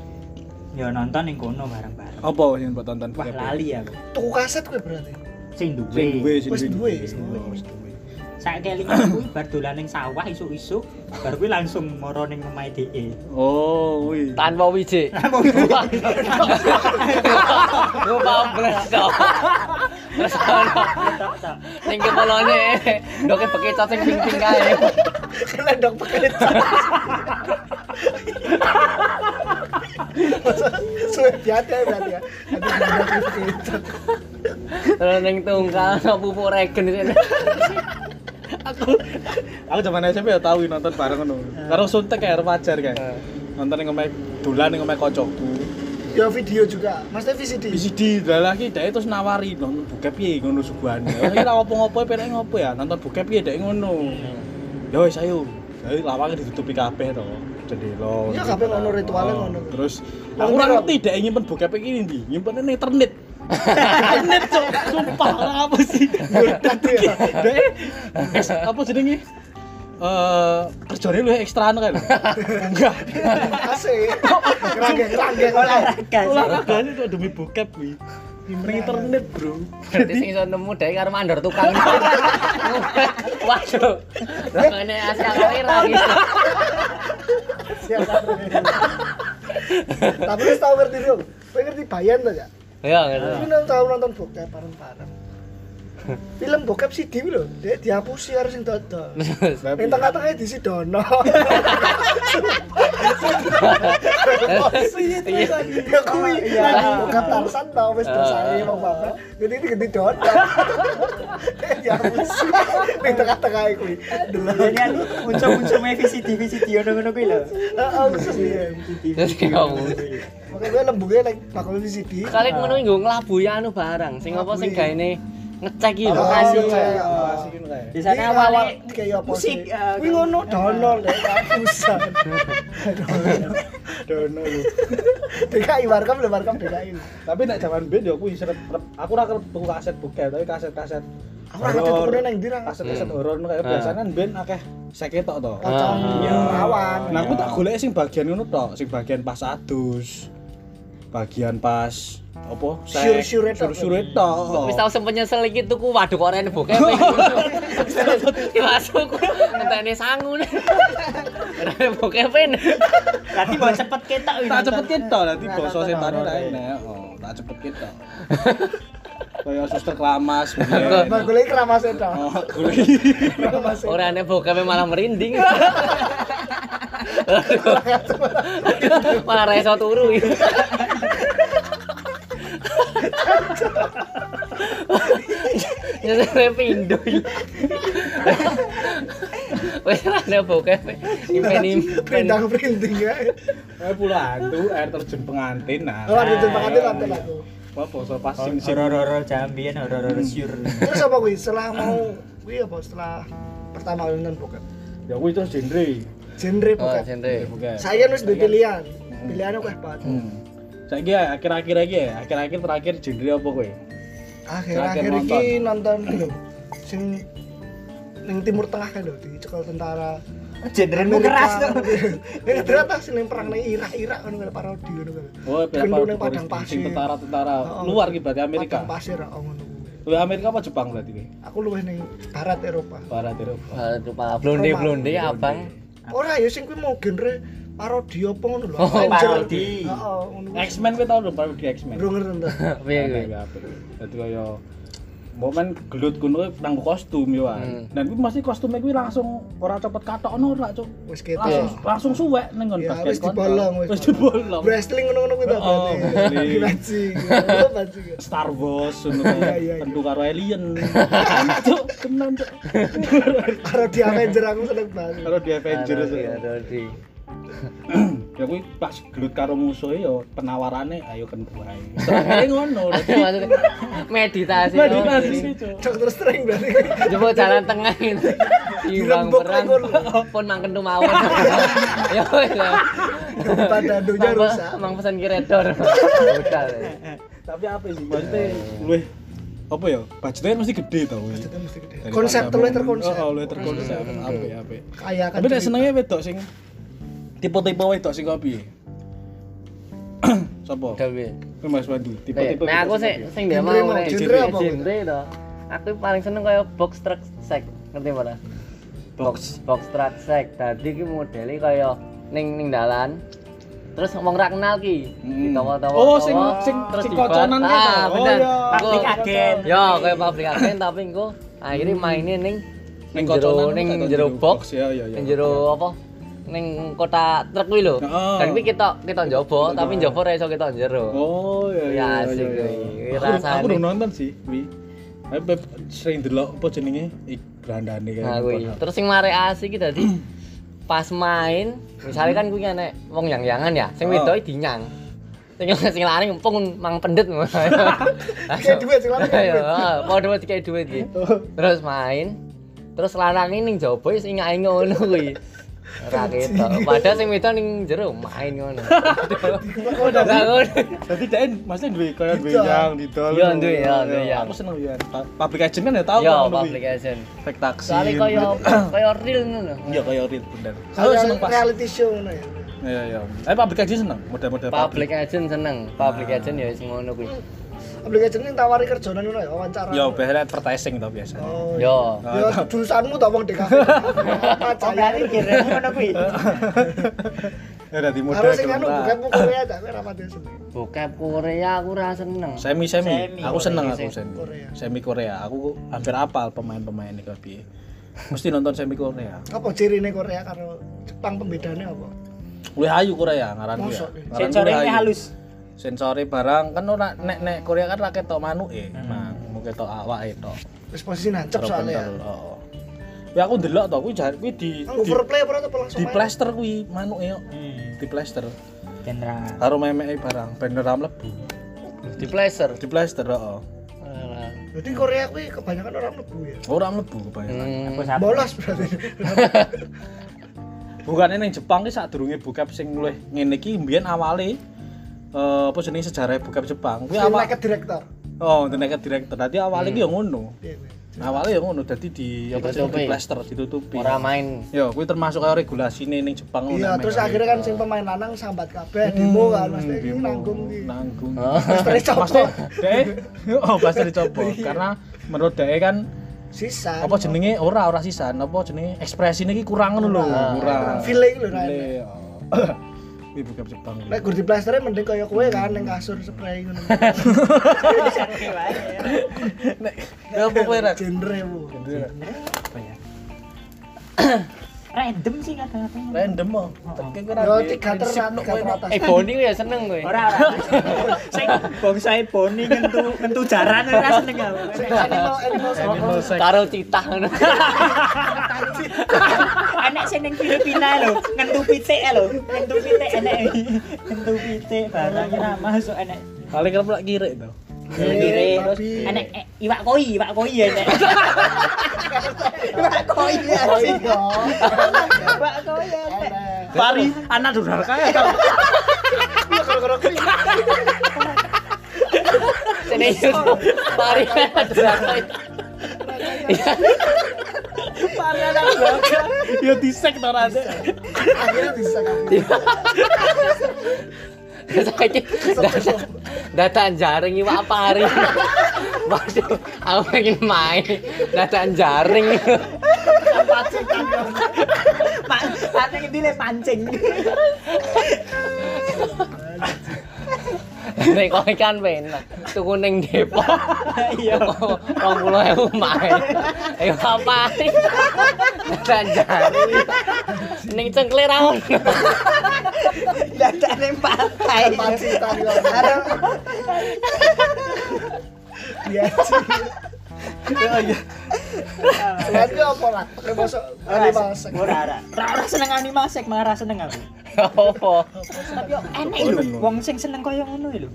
Speaker 4: Ya nonton ning kono bareng-bareng.
Speaker 1: apa sing buat tonton?
Speaker 4: Wah lali aku.
Speaker 3: Tuku kaset gue berarti.
Speaker 4: Sing
Speaker 1: Sing duwe
Speaker 4: duwe.
Speaker 1: sing
Speaker 3: Wis duwe.
Speaker 1: Oh, wis duwe.
Speaker 4: Saiki lingkungan kuwi bar dolan ning sawah isuk-isuk, bar kuwi langsung moro ning omahe E. DE.
Speaker 1: Oh, kuwi.
Speaker 2: Tanpa wiji. Gue paham beres dong. Terus ono ning kepolone doke bekicot sing ping-ping kae.
Speaker 3: Kelendok pakai cat. Suwe biate berarti ya. Nanti kelendok pakai cat.
Speaker 2: Terus ning tungkal ono pupuk regen di sini.
Speaker 1: Aku zaman SMP ya tahu nonton bareng ngono.
Speaker 3: Ah.
Speaker 1: Karo suntek ya wajar kan. Nonton ning omahe dolan ning omahe kancaku.
Speaker 3: Ya video juga. Maksudnya VCD.
Speaker 1: VCD dalah ki dhek terus nawari nonton bokep piye ngono Oh, suguhane. Ora kira ngopo-ngopo penake ngopo ya nonton bokep piye dhek ngono.
Speaker 3: Hmm.
Speaker 1: Ya wis ayo. Ayo lawange ditutupi kabeh to. Jendela.
Speaker 3: Iya, kabeh ngono, ritualnya
Speaker 1: Oh,
Speaker 3: ngono.
Speaker 1: Terus
Speaker 3: Lah,
Speaker 1: aku ora
Speaker 3: ngerti.
Speaker 1: ngerti dhek nyimpen bokep iki ndi. Nyimpene ning internet. Internet cok, sumpah ora apa sih.
Speaker 3: Tadi ya.
Speaker 1: Dhek wis, apa jenenge? Eh kerjane lu ekstra kan. Enggak.
Speaker 3: Asik. Kerangge kerangge oleh.
Speaker 4: Olahraga.
Speaker 1: Olahragane kok demi bokep kuwi. Nyimpeni internet, Bro.
Speaker 2: Berarti sing iso nemu dhek karo mandor tukang. Waduh. Rangane asal kowe ra gitu.
Speaker 3: Siap. Tapi lu tau ngerti dong. Lu ngerti bayan tuh ya.
Speaker 2: Ya ngono.
Speaker 3: Lu nonton tau nonton bokep bareng-bareng. Film bokep si Dewi lho, dia dihapusi harus sing dodol.
Speaker 1: Sebab
Speaker 3: Yang tengah-tengahnya di Sidono. Ya kuwi, lagi bokep Tarsan tau wis dosane wong bapak. Jadi ini gede dodol. Dia dihapusi. Yang tengah-tengahnya kuwi. Delok.
Speaker 4: Dengan unsur-unsurnya VCD-VCD ngono-ngono kuwi lho.
Speaker 3: Heeh, khusus ya.
Speaker 2: Terus kamu.
Speaker 3: Makanya lembungnya lagi bakal di CD.
Speaker 2: Kali ngono nggo nglabu ya anu barang. Sing apa sing
Speaker 3: Ngelabui.
Speaker 2: gaene ngecek iki lho.
Speaker 3: Oh,
Speaker 4: Lokasi.
Speaker 3: ngecek, oh. Jadi
Speaker 4: Di sana awalnya
Speaker 3: kayak apa sih?
Speaker 4: musik, eh,
Speaker 3: Wih ngono donol deh, kapusan.
Speaker 1: Dono lu.
Speaker 3: DKI warkam lho warkam DKI.
Speaker 1: Tapi nek jaman ben ya yo aku seret aku ora kerep tuku kaset bokep, tapi kaset-kaset
Speaker 3: Aku ora ngerti
Speaker 1: horor.
Speaker 3: tukunya nang ndi ra.
Speaker 1: kaset-kaset
Speaker 2: Hmm.
Speaker 1: horor kayak
Speaker 2: Ah.
Speaker 1: biasanya kan ben akeh seket tok to.
Speaker 3: Pocong
Speaker 4: Ah.
Speaker 2: Iya.
Speaker 3: awan.
Speaker 1: Nah aku tak golek sing bagian ngono tok, sing bagian pas adus. Bagian pas apa?
Speaker 3: Syur-syure tok.
Speaker 1: Syur-syure tok.
Speaker 2: Wis tau sempet nyesel iki tuku waduh kok rene bokep. iki. Masuk entene sangu. Rene bokep ini.
Speaker 4: berarti mau cepet
Speaker 3: Oh,
Speaker 4: ketok
Speaker 3: iya,
Speaker 1: tak cepet kita nanti
Speaker 3: Nah,
Speaker 1: bosok
Speaker 3: tak
Speaker 1: setannya
Speaker 4: tak
Speaker 1: lain ya oh tak cepet kita kayak suster kelamas mungkin.
Speaker 3: Nah, golek keramas itu.
Speaker 1: oh kulit
Speaker 3: Keramas itu.
Speaker 2: Ora nek Oh, bokep malah merinding. malah reso turu. iki. Nyesel pindho. iki. Wis ora nek bokep impen impen.
Speaker 3: Perintang printing ya.
Speaker 1: eh pula hantu air terjun pengantin nah
Speaker 3: Oh, ada tempat ada lantai aku.
Speaker 1: wah bosok pas sing sing
Speaker 4: Horor-horor Jambian, horor-horor syur.
Speaker 3: Terus apa kuwi? Setelah mau kuwi apa setelah pertama kali nonton bokep?
Speaker 1: ya aku terus genre
Speaker 3: Genre
Speaker 2: Oh,
Speaker 3: bokep.
Speaker 2: jenre.
Speaker 1: Bukan.
Speaker 3: Saya kan wis duwe pilihan. Pilihannya kuwi apa?
Speaker 1: Ya, hmm. saya akhir-akhir aja ya akhir-akhir terakhir genre apa kowe
Speaker 3: Akhir-akhir
Speaker 1: Terakhir
Speaker 3: ini nonton film sing ning Timur Tengah kan lho dicekal tentara.
Speaker 4: Genremu keras tuh.
Speaker 3: Ning ternyata sing ning perang ning Irak-Irak kan kaya parodi ngono kuwi.
Speaker 1: oh
Speaker 3: Gendong
Speaker 1: berapa
Speaker 3: yang padang
Speaker 1: Boris- sing
Speaker 3: pasir.
Speaker 1: tentara-tentara
Speaker 3: Oh,
Speaker 1: luar gitu berarti Amerika
Speaker 3: Padang pasir oh ngono kuwi.
Speaker 1: Lu Amerika apa Jepang berarti kowe?
Speaker 3: Aku luwih ning barat Eropa.
Speaker 1: barat Eropa
Speaker 2: Aduh, Pak. Blonde-blonde abang.
Speaker 3: Ora ya sing kuwi mau genre parodi apa ngono lho.
Speaker 2: Oh,
Speaker 3: Avenger.
Speaker 4: parodi.
Speaker 3: Heeh, ngono kuwi.
Speaker 1: X-Men kowe tau lho baru di X-Men
Speaker 3: Bro ngerti
Speaker 1: Iya,
Speaker 3: ta?
Speaker 1: Kan
Speaker 2: Piye kuwi?
Speaker 1: Dadi gitu. kaya momen gelut kuno nang kostum yo. Hmm.
Speaker 2: Hmm.
Speaker 1: Dan kuwi mesti kostume kuwi langsung ora cepet katokno ora, Cuk.
Speaker 3: Wis ketok.
Speaker 1: Langsung langsung suwek ning nggon
Speaker 3: Gitu. Ya,
Speaker 1: basket
Speaker 3: wis
Speaker 1: kono.
Speaker 3: dibolong, wis
Speaker 1: Wis dibolong.
Speaker 3: Wrestling ngono-ngono kuwi ta
Speaker 1: Oh,
Speaker 3: berarti.
Speaker 1: wrestling.
Speaker 3: Dimancing. Ngono mancing.
Speaker 1: Star Wars ngono
Speaker 3: Iya,
Speaker 1: kae.
Speaker 3: iya, iya.
Speaker 1: Tentu karo alien. Cuk, tenan, Cuk.
Speaker 3: Parodi Avenger aku seneng banget.
Speaker 1: Karo di Avengers.
Speaker 2: Aduh,
Speaker 1: Cuk.
Speaker 2: aduh, aduh.
Speaker 1: Ya kuwi pas gelut karo musuhe yo penawarane ayo kan kentu ae. Serangane ngono. dadi
Speaker 2: Maksudnya, meditasi.
Speaker 1: Meditasi sih, Cuk.
Speaker 3: Dokter Strange berarti.
Speaker 2: Jebol jalan tengah gitu. Imbang
Speaker 3: Dirembuk
Speaker 2: perang.
Speaker 3: lengan.
Speaker 2: Pun mangken mawon. Ya wis lah.
Speaker 3: Pada donya
Speaker 2: Mang-
Speaker 3: rusak.
Speaker 2: Mang pesan kiredor. Udah.
Speaker 1: Tapi apa sih maksudnya
Speaker 2: Iya.
Speaker 1: luwih apa ya? Budgetnya mesti gede tau. ya.
Speaker 3: Budgetnya mesti gede. Konsep terlalu terkonsep.
Speaker 1: Oh, luwih terkonsep.
Speaker 2: Iya,
Speaker 1: Apik, apik.
Speaker 3: Kayak kan.
Speaker 1: Tapi nek
Speaker 3: cerita.
Speaker 1: senenge wedok sing tipe-tipe wedok sing kaya piye? Sopo?
Speaker 2: Udah wis.
Speaker 1: Kowe Mas Wandi, tipe-tipe. wedok
Speaker 2: Nah, aku
Speaker 1: sing kaya
Speaker 2: sih
Speaker 1: piye?
Speaker 2: sing dia mau
Speaker 3: Genre mau,
Speaker 2: nih.
Speaker 3: genre apa, Mas?
Speaker 2: Genre to. Aku paling seneng kaya box truck sek. Ngerti ora?
Speaker 1: box.
Speaker 2: Box truck sek. Dadi ki modele kaya ning ning dalan. Terus ngomong ra kenal ki.
Speaker 1: Hmm.
Speaker 2: Ditawa-tawa.
Speaker 1: Oh, sing
Speaker 2: tawa,
Speaker 1: sing
Speaker 2: terus
Speaker 1: sing
Speaker 2: dibat.
Speaker 1: koconan ki
Speaker 2: Ah,
Speaker 1: tau. Oh
Speaker 2: bener.
Speaker 1: iya.
Speaker 2: Aku-
Speaker 4: Public agent.
Speaker 2: Ya, kayak pabrik agen tapi engko akhirnya mainnya ning
Speaker 1: Ning
Speaker 2: ning
Speaker 1: koconan ku
Speaker 2: jero ning
Speaker 1: tak tau
Speaker 2: jero
Speaker 1: jero box,
Speaker 2: box,
Speaker 1: ya, ya, ya.
Speaker 2: ning jero apa? Ning kota truk kuwi lho.
Speaker 1: Heeh.
Speaker 2: Dan kuwi kita kita njobo,
Speaker 1: Kita
Speaker 2: tapi
Speaker 1: njobo.
Speaker 2: njobo ra iso kita njero.
Speaker 1: Oh iya
Speaker 2: Ya,
Speaker 1: iya.
Speaker 2: asik
Speaker 1: iya,
Speaker 2: kuwi.
Speaker 1: iya. Aku-
Speaker 2: Rasane.
Speaker 1: Aku udah nonton sih, kuwi. Tapi beb- sering delok apa jenenge? Ik grandane kayak
Speaker 2: Nah, kuwi.
Speaker 1: gitu.
Speaker 2: Terus sing mare asik iki dadi pas main, misalnya kan kuwi enek wong yang-yangan ya, sing
Speaker 1: Oh.
Speaker 2: wedoki dinyang. Sing sing lanang pun mang pendet.
Speaker 3: Kayak duit sing lanang kayak
Speaker 2: Ayo,
Speaker 3: duit.
Speaker 2: heeh, padha mesti kayak duit iki. Terus main. Terus lanang ini ning jaba wis ingake ngono kuwi. Ora ketok. Padahal sing wedok ning jero main ngono.
Speaker 3: Kok
Speaker 2: Udah ngono.
Speaker 1: Jadi Dain, maksudnya duwe kaya duwe
Speaker 3: Didol.
Speaker 1: yang didol.
Speaker 2: Iya, duwe, iya, duwe yang. Iya,
Speaker 1: Aku seneng ya. Ta- Public agent kan ya tau
Speaker 2: Yo,
Speaker 1: kan, kuwi.
Speaker 2: publication.
Speaker 1: Tek taksi.
Speaker 2: Soale koyo koyo real ngono.
Speaker 1: Iya kaya real bener. Aku
Speaker 3: Kayak
Speaker 1: Oh, seneng pas.
Speaker 3: reality show ngono ya.
Speaker 1: Iya iya. Eh public agent seneng model-model
Speaker 2: Public agent seneng. Public agent ya wis ngono kuwi.
Speaker 3: Aplikasi ini tawari kerjaan ngono ya wawancara.
Speaker 1: Ya biasanya advertising tau biasa.
Speaker 3: Oh. iya.
Speaker 2: Yo.
Speaker 3: Ya
Speaker 1: Nah,
Speaker 3: jurusanmu tak wong DKV.
Speaker 4: Oh, berarti genremu ngono kuwi.
Speaker 1: Ya dadi model.
Speaker 3: Harus sing anu bukan Korea dah, kowe rapat ya seneng.
Speaker 2: Bokep Korea aku ora seneng.
Speaker 1: Semi semi.
Speaker 4: Semi.
Speaker 1: Aku seneng aku
Speaker 2: Korea.
Speaker 1: semi.
Speaker 3: Korea.
Speaker 1: Semi Korea. Aku hampir apal pemain-pemain iki piye. Mesti nonton semi Korea.
Speaker 3: Apa cirine Korea karo Jepang pembedane apa?
Speaker 1: Luwih ayu Korea ngaran ku ya.
Speaker 3: Mosok.
Speaker 1: Ngaran ku
Speaker 4: Sensornya
Speaker 1: luwih ayu.
Speaker 4: halus.
Speaker 1: Sensore barang kan ora nek nek
Speaker 2: Hmm.
Speaker 1: Korea kan ra ketok manuke. Nah, mau ketok awake tok.
Speaker 3: Wis posisi nancep
Speaker 1: Terus
Speaker 3: soalnya ya.
Speaker 1: kental, heeh. Ya aku ndelok to kuwi jar kuwi di
Speaker 3: Kan
Speaker 1: di,
Speaker 3: overplay apa apa langsung
Speaker 1: di
Speaker 3: main?
Speaker 1: plaster kuwi manuke yo.
Speaker 4: Hmm,
Speaker 1: Di plaster.
Speaker 4: Dan ra-
Speaker 1: Karo memeke barang ben ora mlebu.
Speaker 2: Di pleasure. Hmm,
Speaker 1: Di oh, plaster heeh.
Speaker 2: Alah.
Speaker 3: Berarti Korea kuwi kebanyakan orang mlebu ya.
Speaker 1: Oh, Ora mlebu kebanyakan.
Speaker 2: Hmm.
Speaker 4: Aku sabar.
Speaker 3: Bolos berarti.
Speaker 1: Bukannya ning Jepang ki sadurunge bokep sing luwih ngene iki mbiyen awale eh apa jenenge sejarah bokep Jepang. Kuwi
Speaker 3: Film
Speaker 1: awal
Speaker 3: like director.
Speaker 1: oh tenaga direktur. Dadi awale ki yo
Speaker 2: Hmm.
Speaker 1: ngono.
Speaker 3: Iya, iya.
Speaker 1: Awale yo ngono dadi di apa
Speaker 2: Ditutupi.
Speaker 1: jenenge di plaster ditutupi.
Speaker 2: Ora main.
Speaker 1: Yo kuwi termasuk kaya regulasine ning Jepang ngono
Speaker 3: Iya,
Speaker 1: Oh, namanya.
Speaker 3: terus akhirnya kan sing pemain lanang sambat kabeh demo kan mesti ini nanggung Ah. iki.
Speaker 1: nanggung.
Speaker 3: Mesti
Speaker 1: Pasti
Speaker 3: copot
Speaker 1: dek oh pasti dicoba
Speaker 3: Iya.
Speaker 1: karena menurut dek kan
Speaker 3: sisa.
Speaker 1: apa jenenge ora ora sisan apa jenenge ekspresine iki kurang ngono lho Ah.
Speaker 3: Kurang.
Speaker 1: kurang.
Speaker 3: Feeling lho nah.
Speaker 1: File, oh. Ini bokep Jepang.
Speaker 3: Lek gur di plasternya mending kaya kowe kan ning kasur spray ngono.
Speaker 1: Nek ya apa kowe rek? Nah.
Speaker 3: Genre mu.
Speaker 4: ya? Random sih kata-katanya.
Speaker 1: Random oh. Tekan kowe
Speaker 3: Yo tiga terang, tiga teratas.
Speaker 2: Eh Boni ya seneng kowe.
Speaker 4: Ora ora. Sing bangsae Boni ngentu ngentu jaran ora seneng aku.
Speaker 3: Animal animal
Speaker 1: Animal sex.
Speaker 2: Karo citah ngono.
Speaker 4: Anak sing ning Filipina lho, ngentu pitik lho, ngentu pitik enek. Ngentu pitik barang ora masuk enek.
Speaker 1: Paling kerep lak kirek to.
Speaker 4: Kiri.
Speaker 3: Eh, babi.
Speaker 4: Enek eh, iwak koi, iwak koi ya, enek. Iwak koi ya.
Speaker 3: Oh iya.
Speaker 4: Iwak koi enek.
Speaker 1: Pari anak ya. dunar kaya.
Speaker 3: Koro-koro kering.
Speaker 2: Sini YouTube. Mari ada
Speaker 4: Pare anak blok.
Speaker 1: Ya disek to ora ada.
Speaker 3: Akhirnya bisa kan.
Speaker 2: saiki data, data jaring iwak pari waduh aku pengen main data jaring
Speaker 4: Pak, ate ngendi le pancing.
Speaker 2: nek kowe kan penak tuku ning Depok iya 20000 main iwak pari data jaring ning cengkle ra ono
Speaker 4: Dadane pantai.
Speaker 3: Panci tadi orang. Iya. sih. Selanjutnya apa lah? Ini masuk animal sex.
Speaker 4: Ora ora. Ora ora Oh, seneng animal sek, malah ora seneng aku.
Speaker 2: opo
Speaker 4: Tapi yo enek lho, wong sing seneng koyo ngono lho.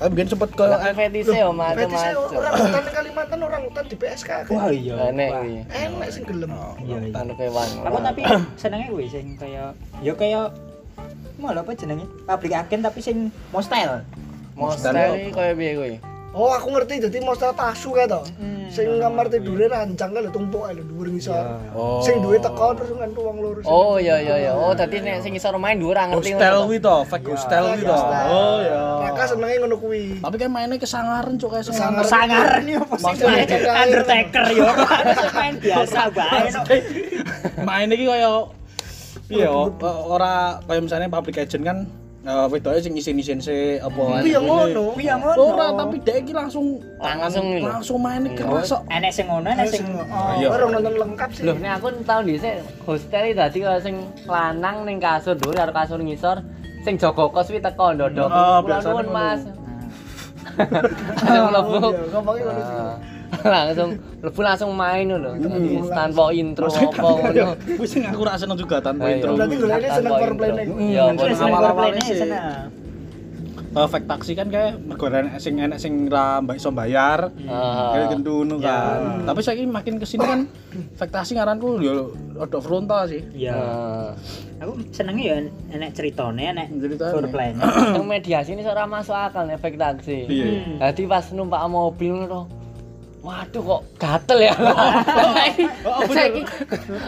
Speaker 3: Eh,
Speaker 1: Ah biyen sempet kaya
Speaker 2: fetise yo
Speaker 3: Berarti orang
Speaker 2: macam-macam
Speaker 3: hutan di Kalimantan, orang hutan di PSK. kan.
Speaker 4: Wah iya.
Speaker 2: nek kuwi
Speaker 3: Enak sih gelem.
Speaker 4: Iya iya.
Speaker 2: tanu kewan
Speaker 4: Aku tapi senengnya kuwi sing kaya ya kaya mau apa jenenge? Pabrik agen tapi sing mostel.
Speaker 2: monster iki koyo piye kuwi
Speaker 3: Oh, aku ngerti. Jadi monster tasu kayak toh.
Speaker 4: Hmm.
Speaker 3: Sing kamar tidurnya rancang kan, lho, tumpuk aja dhuwur ngisor.
Speaker 1: Oh.
Speaker 3: Sing duwe teko terus ngantu wong lurus.
Speaker 2: Oh iya iya iya. Oh tadi nek sing isor main dhuwur ra ngerti.
Speaker 1: hostel kuwi to, Iya, fake hostel kuwi to. Oh ya.
Speaker 3: Raka senengnya ngono kuwi.
Speaker 1: Tapi kan mainnya kesangaran cuk kaya
Speaker 3: Kesangaran.
Speaker 4: Sangar nih apa sih?
Speaker 3: Maksudnya
Speaker 1: iya.
Speaker 4: Kayak
Speaker 3: kayak-
Speaker 4: Undertaker yo. Main biasa bae. no.
Speaker 1: Main iki kaya piye o- o- ora kaya misalnya Public Agent kan eh, wedoke sing isin-isin se apa.
Speaker 3: Kuwi yang ngono.
Speaker 4: Kuwi yang Hmm. Iya, ngono.
Speaker 1: Ora tapi dhek iki langsung
Speaker 2: Langsung ini. Iya.
Speaker 1: langsung main iki kerasa.
Speaker 4: enek sing ngono, enek sing
Speaker 3: Oh,
Speaker 1: Iya.
Speaker 3: orang nonton lengkap sih.
Speaker 2: Loh nek aku tau dhisik hostel iki dadi kaya sing lanang ning kasur dhuwur karo kasur ngisor sing jaga kos kuwi teko ndodok.
Speaker 1: Ah,
Speaker 2: Kula
Speaker 1: biasanya
Speaker 2: nuwun,
Speaker 1: ngono.
Speaker 2: Mas. Langsung mlebu.
Speaker 3: Iya, ngomongnya ngono sih.
Speaker 2: Ah, Langsung mlebu langsung main ngono. Jadi
Speaker 3: Hmm.
Speaker 2: tanpa intro apa ngono.
Speaker 1: Wis sing aku ra seneng juga tanpa
Speaker 2: Iya,
Speaker 1: intro.
Speaker 2: iya.
Speaker 3: Berarti goleknya seneng
Speaker 2: Tanpa
Speaker 3: foreplay
Speaker 2: intro.
Speaker 3: ning.
Speaker 2: Iya,
Speaker 1: Hmm,
Speaker 2: foreplay.
Speaker 4: seneng
Speaker 1: awal-awalnya
Speaker 4: warplane
Speaker 1: sih.
Speaker 4: seneng.
Speaker 1: efek taksi kan kayak mergoran sing enek sing ra mbak iso bayar
Speaker 2: Ah.
Speaker 1: kayak gendu nu kan tapi saya makin kesini kan efek taksi ngaranku yo rodok frontal sih
Speaker 4: Iya.
Speaker 2: Ah.
Speaker 4: Aku senenge ya enek ceritane, enek
Speaker 1: Ceritane.
Speaker 4: foreplay.
Speaker 2: Yang mediasi ini seorang masuk akal efek taksi.
Speaker 1: Iya.
Speaker 4: Hmm.
Speaker 2: Tadi pas numpak mobil ngono. Waduh kok gatel ya.
Speaker 1: Oh, bener.
Speaker 2: Saiki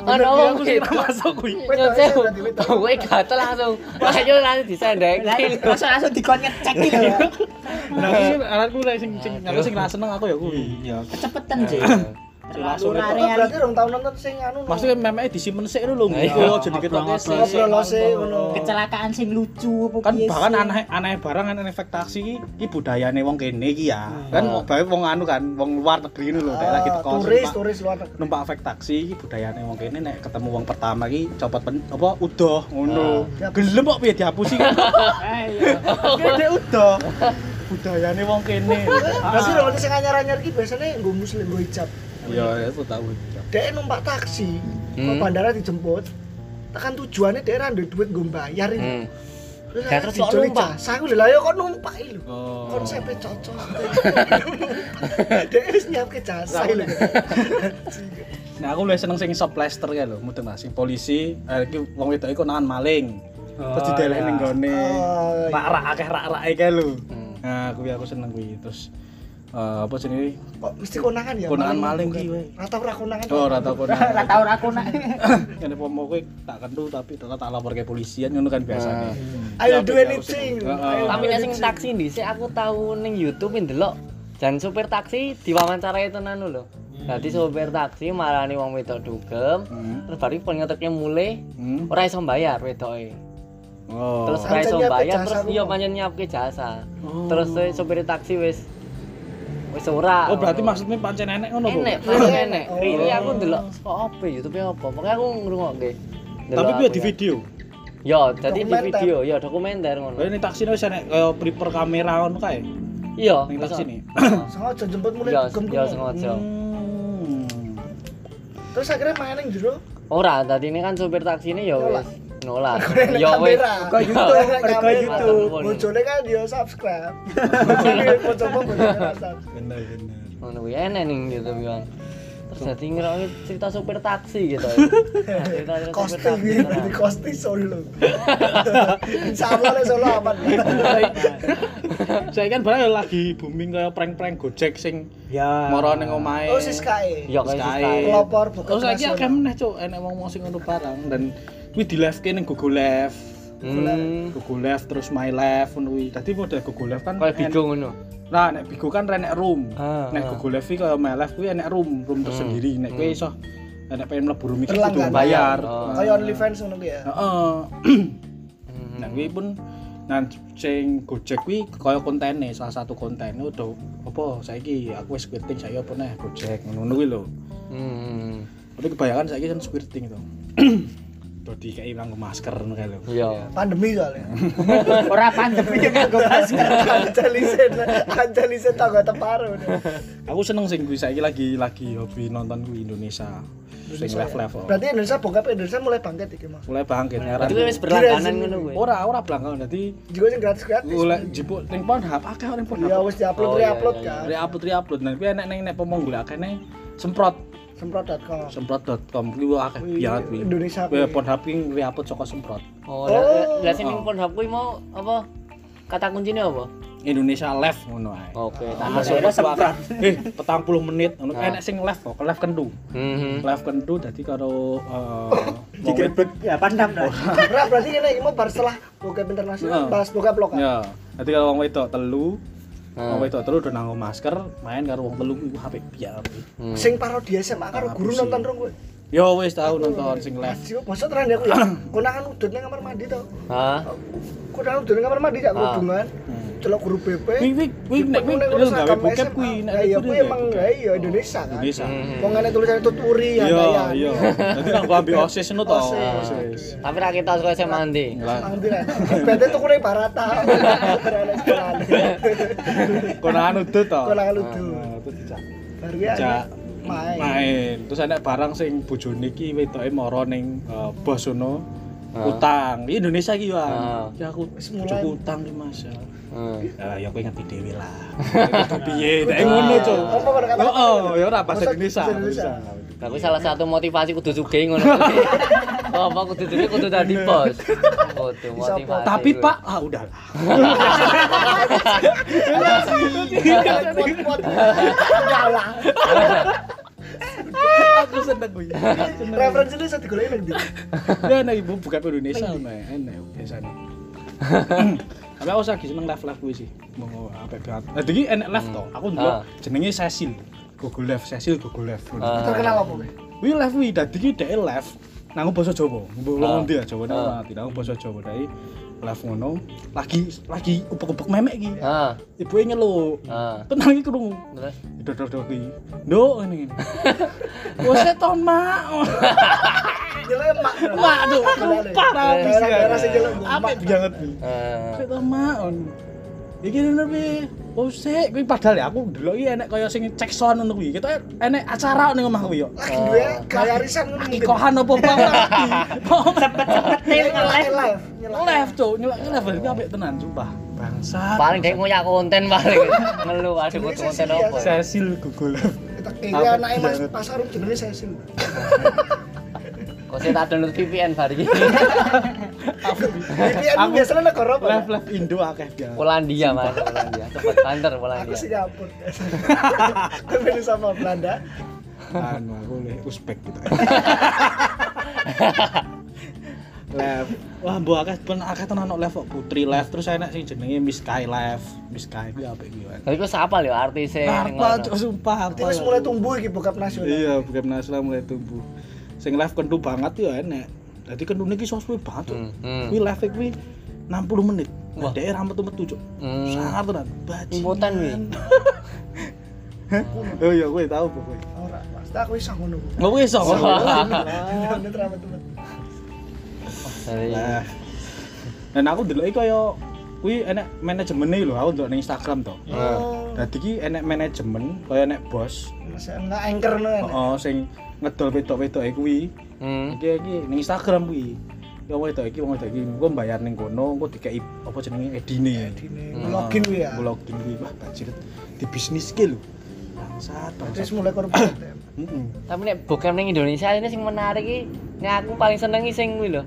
Speaker 1: Bener,
Speaker 2: ono
Speaker 1: iya,
Speaker 2: wong
Speaker 1: aku sih ra
Speaker 2: gitu.
Speaker 1: masuk kuwi
Speaker 3: Wedok,
Speaker 2: Nyoceh,
Speaker 3: wedok, wedok.
Speaker 2: kowe gatel langsung. Ayo langsung
Speaker 4: Lah,
Speaker 2: disendeki.
Speaker 4: langsung langsung dikon ngecek gitu ya.
Speaker 1: nah kuwi ngaranku lah sing sing aku sing ra seneng aku ya kuwi
Speaker 4: Kecepetan sih.
Speaker 1: langsung
Speaker 4: Lurah
Speaker 1: itu.
Speaker 3: Itu berarti rong tahun nonton sing anu. no.
Speaker 1: Maksudnya memeknya disimpen sik lho nggih.
Speaker 2: Iya.
Speaker 1: Oh, jadi ketok
Speaker 3: ngobrol
Speaker 1: sik.
Speaker 3: lo sih ngono.
Speaker 4: kecelakaan sing lucu apa
Speaker 1: kan
Speaker 4: piye
Speaker 1: bahkan
Speaker 4: sih?
Speaker 1: aneh aneh barang aneh ekspektasi iki iki budayane wong kene iki ya kan
Speaker 2: Ah.
Speaker 1: wong bae wong anu kan wong luar negeri ini lho nek lagi
Speaker 3: Ah,
Speaker 1: teko
Speaker 3: Turis,
Speaker 1: numpak-
Speaker 3: turis luar negeri.
Speaker 1: numpak efek taksi iki budayane wong kene nek ketemu wong pertama iki copot pen, apa udah ngono
Speaker 3: Ah.
Speaker 1: gelem kok piye dihapusi kan kene udah budayane wong kene
Speaker 3: Berarti rong sing anyar-anyar iki biasanya nggo muslim nggo hijab.
Speaker 1: ya aku tahu
Speaker 3: Dia numpak taksi, ke
Speaker 2: Hmm.
Speaker 3: bandara dijemput. Tekan tujuannya dia ada duit gue bayar ini.
Speaker 2: Hmm.
Speaker 3: Terus
Speaker 2: Lah,
Speaker 3: aku
Speaker 2: terus kok
Speaker 3: diculik,
Speaker 2: numpak?
Speaker 3: Cak. Saya udah lah ya kok numpak ini lho.
Speaker 1: Oh.
Speaker 3: Konsepnya cocok. Dia harus nyiap ke jasa ini lho.
Speaker 1: nah aku lebih seneng sing soft plaster kae lho mudeng lah sing polisi eh, iki wong wedok iku nangan maling terus dideleh
Speaker 2: iya.
Speaker 1: ning gone
Speaker 3: Oh, iya.
Speaker 1: rak-rak akeh rak-rake kae lho
Speaker 2: Hmm.
Speaker 1: nah kuwi aku seneng kuwi terus eh, apa jenenge
Speaker 3: Kok mesti konangan ya?
Speaker 1: Konangan maling ki, weh.
Speaker 3: Rata ora konangan.
Speaker 1: oh rata kono
Speaker 4: ora tau aku nak
Speaker 1: ngene pomo kuwi tak kentu tapi tak tak lapor ke polisian ngono kan
Speaker 2: Ah, iya.
Speaker 1: biasane
Speaker 3: I'll do
Speaker 1: Tapi gak
Speaker 3: anything.
Speaker 1: usah.
Speaker 3: I'll
Speaker 2: Tapi
Speaker 3: do
Speaker 2: nek sing
Speaker 3: anything.
Speaker 2: taksi dhisik aku tau ning YouTube ndelok dan supir taksi diwawancarai tenan lho. Dadi supir taksi marani wong wedok dugem,
Speaker 1: Hmm.
Speaker 2: terus baru pengeteknya mulai
Speaker 1: Hmm.
Speaker 2: ora iso bayar wedoke.
Speaker 1: oh
Speaker 2: Terus
Speaker 3: Oh.
Speaker 2: ora iso
Speaker 3: Pancen nyiapke
Speaker 2: bayar
Speaker 3: jasa
Speaker 2: terus
Speaker 3: ku.
Speaker 2: iya pancen nyiapke jasa.
Speaker 1: Oh.
Speaker 2: Terus eh, supir taksi wis wis ora.
Speaker 1: oh berarti
Speaker 2: ngono.
Speaker 1: maksudnya pancen enek ngono Bu?
Speaker 2: enek, pancen
Speaker 3: Enek.
Speaker 2: enek.
Speaker 3: Oh.
Speaker 2: Ini aku ndelok saka apa ya, YouTube-e apa. Pokoke aku ngrungokke. Ndelok
Speaker 1: tapi kuwi
Speaker 2: aku
Speaker 1: di
Speaker 2: ya.
Speaker 1: video
Speaker 2: Ya, jadi di
Speaker 3: Dokumenter.
Speaker 2: video, ya dokumenter ngono.
Speaker 1: Lah ini taksi wis enek kaya preper kamera ngono kae
Speaker 2: Iya,
Speaker 1: ning
Speaker 2: terus-
Speaker 1: taksi ini
Speaker 3: Sengaja jemput mulai
Speaker 2: Iya,
Speaker 3: dugem
Speaker 2: iya
Speaker 3: kuwi.
Speaker 2: sengaja.
Speaker 1: Hmm.
Speaker 3: Terus akhirnya main yang jero.
Speaker 2: Ora, tadi ini kan supir taksi ini ya
Speaker 3: Nolak.
Speaker 2: wis nolak.
Speaker 3: Mereka
Speaker 2: Ya wis.
Speaker 3: kamera.
Speaker 4: Mereka YouTube, mereka
Speaker 3: Kamera.
Speaker 4: YouTube.
Speaker 3: Bojone kan dia subscribe. Bojone bojone bojone subscribe.
Speaker 1: bener bener
Speaker 2: Ngono kuwi enek ning gitu bilang. Terus dadi ngerokne cerita supir taksi gitu. Cerita
Speaker 3: Kosti ini
Speaker 2: ya,
Speaker 3: di kosti solo. gitu, Sama lah solo apa?
Speaker 1: saya kan barang lagi booming kayak prank-prank gojek sing
Speaker 4: ya
Speaker 1: moro ning omahe
Speaker 3: Oh sis kae.
Speaker 2: Ya kayak
Speaker 1: Sky.
Speaker 2: sih.
Speaker 3: Pelopor bukan
Speaker 1: terus lagi akeh meneh cuk enek wong sing ngono barang dan kuwi di live ke ning Google Live
Speaker 2: Hmm.
Speaker 1: Google Live terus My Live ngono kuwi dadi model Google Live kan
Speaker 2: Kayak
Speaker 1: en-
Speaker 2: bigo ngono.
Speaker 1: Nah, nek Bigo kan renek room.
Speaker 2: Ah, ah.
Speaker 1: nek Google Live kaya Melef kuwi enek room, room tersendiri. Nek kowe
Speaker 2: Hmm.
Speaker 1: iso nek pengen mlebu room iki kudu
Speaker 3: Berlangganan.
Speaker 1: bayar.
Speaker 2: Oh.
Speaker 3: Kayak OnlyFans ngono kuwi ya.
Speaker 1: Heeh.
Speaker 2: Hmm.
Speaker 1: Nek kuwi pun nah sing Gojek kuwi kaya kontene salah satu konten udah apa saiki aku wis quitting saya apa neh Gojek ngono kuwi lho.
Speaker 2: Hmm.
Speaker 1: Tapi kebanyakan saiki kan quitting to. Dadi kayak nganggo masker ngono kae lho.
Speaker 2: Iya.
Speaker 3: Pandemi soalnya.
Speaker 4: ora pandemi
Speaker 3: Gue masker. Anjalisen, anjalisen tau gak teparu.
Speaker 1: Aku seneng sing kuwi saiki lagi lagi hobi nonton kuwi Indonesia. Sing live-live. oh.
Speaker 3: Berarti Indonesia bokap Indonesia mulai bangkit iki mas.
Speaker 1: Mulai bangkit nyaran.
Speaker 2: Berarti kuwi wis berlangganan ngono kuwi.
Speaker 1: Ora ora blangkon dadi
Speaker 3: Juga sing gratis gratis.
Speaker 1: golek jipuk ning Pornhub akeh orang
Speaker 3: Ya
Speaker 1: Pornhub.
Speaker 3: wis diupload
Speaker 2: Oh, iya,
Speaker 3: reupload
Speaker 2: iya,
Speaker 3: kan.
Speaker 1: Re-upload re-upload nah kuwi enek ning nek pomong golek akeh nih semprot
Speaker 3: Semprot.com.
Speaker 1: semprot.com kuwi wah akeh banget kuwi.
Speaker 3: Indonesia
Speaker 1: Kuwi
Speaker 3: kuwi.
Speaker 1: Pornhub kuwi re-upload saka semprot.
Speaker 2: Oh, lah- lah sing
Speaker 1: Oh.
Speaker 2: ning Pornhub kuwi mau apa? Kata kuncinya apa? Ah.
Speaker 1: Indonesia live ngono ae.
Speaker 2: Oke, tak
Speaker 1: Nah,
Speaker 2: masuk.
Speaker 1: maksudnya semprot. Nah. Eh, petang puluh menit ngono.
Speaker 2: Ah.
Speaker 1: Enek sing live kok, live kendu.
Speaker 2: Hmm.
Speaker 1: Live kendu dadi karo eh, wong
Speaker 4: digerebek ya pandam dah
Speaker 3: Nah, berarti ini iki mau bar setelah bokap
Speaker 1: Heeh.
Speaker 3: internasional bahas bokap lokal.
Speaker 1: Ya, nanti kalau wong wedok telu,
Speaker 2: Ah.
Speaker 1: wong wedok telu udah nanggo masker, main karo wong telu iku HP biar.
Speaker 2: Hmm.
Speaker 3: Sing parodi SMA karo guru
Speaker 1: Habisin.
Speaker 3: nonton rong kowe.
Speaker 1: Yo wis tau nonton sing live.
Speaker 3: Jiwa bosot tenan aku ya. Konangan udut nang kamar mandi to.
Speaker 2: Hah?
Speaker 3: Konangan udut nang kamar mandi cak
Speaker 2: Ah.
Speaker 3: kerudungan.
Speaker 1: Hmm.
Speaker 3: Celok guru BP.
Speaker 1: Kuwi kuwi kuwi nek kuwi
Speaker 3: Dipenuhi
Speaker 1: terus
Speaker 3: urusan
Speaker 1: gawe
Speaker 3: agama
Speaker 1: bokep
Speaker 3: SMA.
Speaker 1: kuwi nek
Speaker 3: Lah iya,
Speaker 1: kuwi
Speaker 3: kuwi
Speaker 1: gawe
Speaker 3: emang
Speaker 1: bokep.
Speaker 3: ya iya Indonesia kan.
Speaker 1: Indonesia.
Speaker 2: Hmm.
Speaker 3: Wong ngene tulisannya tuturi ya
Speaker 1: Iya,
Speaker 3: ya.
Speaker 1: iya. Dadi nang gua ambil OSIS ngono to.
Speaker 3: OSIS.
Speaker 1: OSIS.
Speaker 2: Ah. Tapi ra kita sekolah SMA ndi?
Speaker 1: Lah,
Speaker 3: Alhamdulillah. Bete tuh kurang barata. Berada sekali.
Speaker 1: konangan udut to.
Speaker 3: Konangan udut.
Speaker 1: Nah, terus dijak.
Speaker 3: Baru ya
Speaker 1: Dijak
Speaker 3: main.
Speaker 1: main. Terus ana barang sing bojone iki wetoke moro ning eh, bos ngono.
Speaker 2: Ah.
Speaker 1: Utang. Iki Indonesia iki ya.
Speaker 2: Ah.
Speaker 1: Ya aku
Speaker 3: Wis mulai.
Speaker 1: cukup utang iki Mas. ya.
Speaker 2: Hmm.
Speaker 1: Ya ya kowe ngerti dhewe lah. Kudu piye? Nek ngono, Cuk.
Speaker 3: Apa pada kata?
Speaker 1: Heeh, ya ora pas
Speaker 3: Masa
Speaker 1: Indonesia.
Speaker 3: bahasa Indonesia.
Speaker 2: Lah kuwi salah satu motivasi kudu sugih ngono. kuwi. Apa kudu duwe kudu dadi bos. Kudu motivasi.
Speaker 1: Tapi
Speaker 2: kuwi.
Speaker 1: Pak, ah udahlah.
Speaker 3: Iya. Kuat-kuat. Enggak lah. Iya.
Speaker 1: Aku seneng kuwi.
Speaker 3: Referensi ini bisa digoleki nang ndi?
Speaker 1: Ya nek ibu buka Indonesia
Speaker 2: Iya.
Speaker 1: nah, enak biasanya. Tapi aku lagi seneng live live gue sih. Mau apa banget. Nah, jadi enak live toh. Aku dulu
Speaker 2: Hmm. Ah.
Speaker 1: jenenge Cecil. Google Live Cecil Google Live
Speaker 2: Ah.
Speaker 3: Terkenal apa? Be?
Speaker 1: Wih live wih dadi ki dhek live nang basa Jawa. Mbok
Speaker 2: Ah.
Speaker 1: wong ndi ya Jawane
Speaker 2: Ah.
Speaker 1: ora ngerti nang basa Jawa dai live ngono lagi lagi upek-upek memek iki.
Speaker 2: Ah,
Speaker 1: Ibuke nyeluk.
Speaker 2: ah.
Speaker 1: Tenang iki krungu.
Speaker 2: Terus
Speaker 1: Dodol-dodol iki. Nduk ngene ngene. Wes to mak.
Speaker 3: Jelemak.
Speaker 1: Mak tuh parah
Speaker 2: Daerah-
Speaker 1: abis
Speaker 3: daerah sing jelek, Bu.
Speaker 1: Apik banget iki.
Speaker 2: eh,
Speaker 1: Wes to mak. ngono. Iki ngene pi. Usik, kuwi padahal ya aku ndelok iki enek kaya sing cek sound ngono kuwi. Kita enek acara ning omah kuwi yo.
Speaker 3: Lagi duwe kayak arisan ngono mungkin.
Speaker 1: Ikohan apa bang?
Speaker 4: Cepet-cepetin
Speaker 3: Nyelak-
Speaker 4: nge-live.
Speaker 3: nyelak. Nyelak.
Speaker 1: Live cok, nyelaknya level ini apik tenan sumpah. Bangsat.
Speaker 2: paling dek ngoyak konten paling. Ngeluh aduh
Speaker 3: Sebenarnya
Speaker 2: konten
Speaker 3: sih,
Speaker 2: apa? ya?
Speaker 1: Cecil Google.
Speaker 3: Kita- Ini
Speaker 2: Apa?
Speaker 3: anaknya Mas Pasarum jenenge Cecil.
Speaker 2: Kok saya tak download VPN bar iki.
Speaker 3: VPN ku
Speaker 1: Aku-
Speaker 3: biasanya negara apa?
Speaker 1: Live live Indo akeh dia.
Speaker 2: Polandia Mas, Polandia. Cepet banter
Speaker 3: Aku
Speaker 2: Polandia.
Speaker 3: Singapura. Tapi ini sama Belanda.
Speaker 1: Anu aku le Uzbek gitu. Live. Wah, mbok akeh ben akeh tenan ono live kok Putri live terus enak sing jenenge Miss Kai live. Miss Kai kuwi apik iki.
Speaker 2: Tapi kok siapa lho artisnya? yang
Speaker 1: Apa
Speaker 2: Eh, ngono?
Speaker 1: cok sumpah apa. ya?
Speaker 3: Itu wis mulai tumbuh iki bokap nasional.
Speaker 1: Iya, bukan nasional mulai tumbuh. Sing live kentu banget ya enek. Dadi kentune iki sosok banget. Cok.
Speaker 2: Hmm, hmm.
Speaker 1: Kuwi live kuwi 60 menit. Nah, Wah,
Speaker 2: Wah.
Speaker 1: dhek ra metu-metu, Cuk.
Speaker 2: Hmm.
Speaker 1: Sangat tenan. Bajingan.
Speaker 2: Impoten, wih.
Speaker 1: Oh iya, gue tahu pokoknya. Iya,
Speaker 3: Ora, Mas. Tak aku iso ngono. Bu.
Speaker 1: Nggak bisa.
Speaker 3: Ini terlalu teman.
Speaker 2: Dari-
Speaker 1: Nah, Dan aku dulu iki kaya kuwi enek manajemennya lho, aku ndelok ning Instagram to.
Speaker 2: Ah.
Speaker 3: Oh,
Speaker 1: Dadi ki enek manajemen, kaya enek bos.
Speaker 3: masih enggak anchor nih.
Speaker 2: Oh,
Speaker 1: Heeh, sing ngedol wedok-wedok e kuwi.
Speaker 2: Hmm.
Speaker 1: Iki iki ning Instagram kuwi. Ya wong wedok iki wong wedok iki engko mbayar ning kono, engko dikeki apa jenenge edine.
Speaker 2: Hmm.
Speaker 3: Ini login kuwi ya.
Speaker 1: Engko Login kuwi wah bajir di bisnis ki lho. Bangsat, bangsat.
Speaker 3: Terus mulai korban. ya.
Speaker 1: Heeh.
Speaker 2: Tapi nek bokep ning Indonesia ini sing menarik iki nek aku paling senengi sing kuwi lho.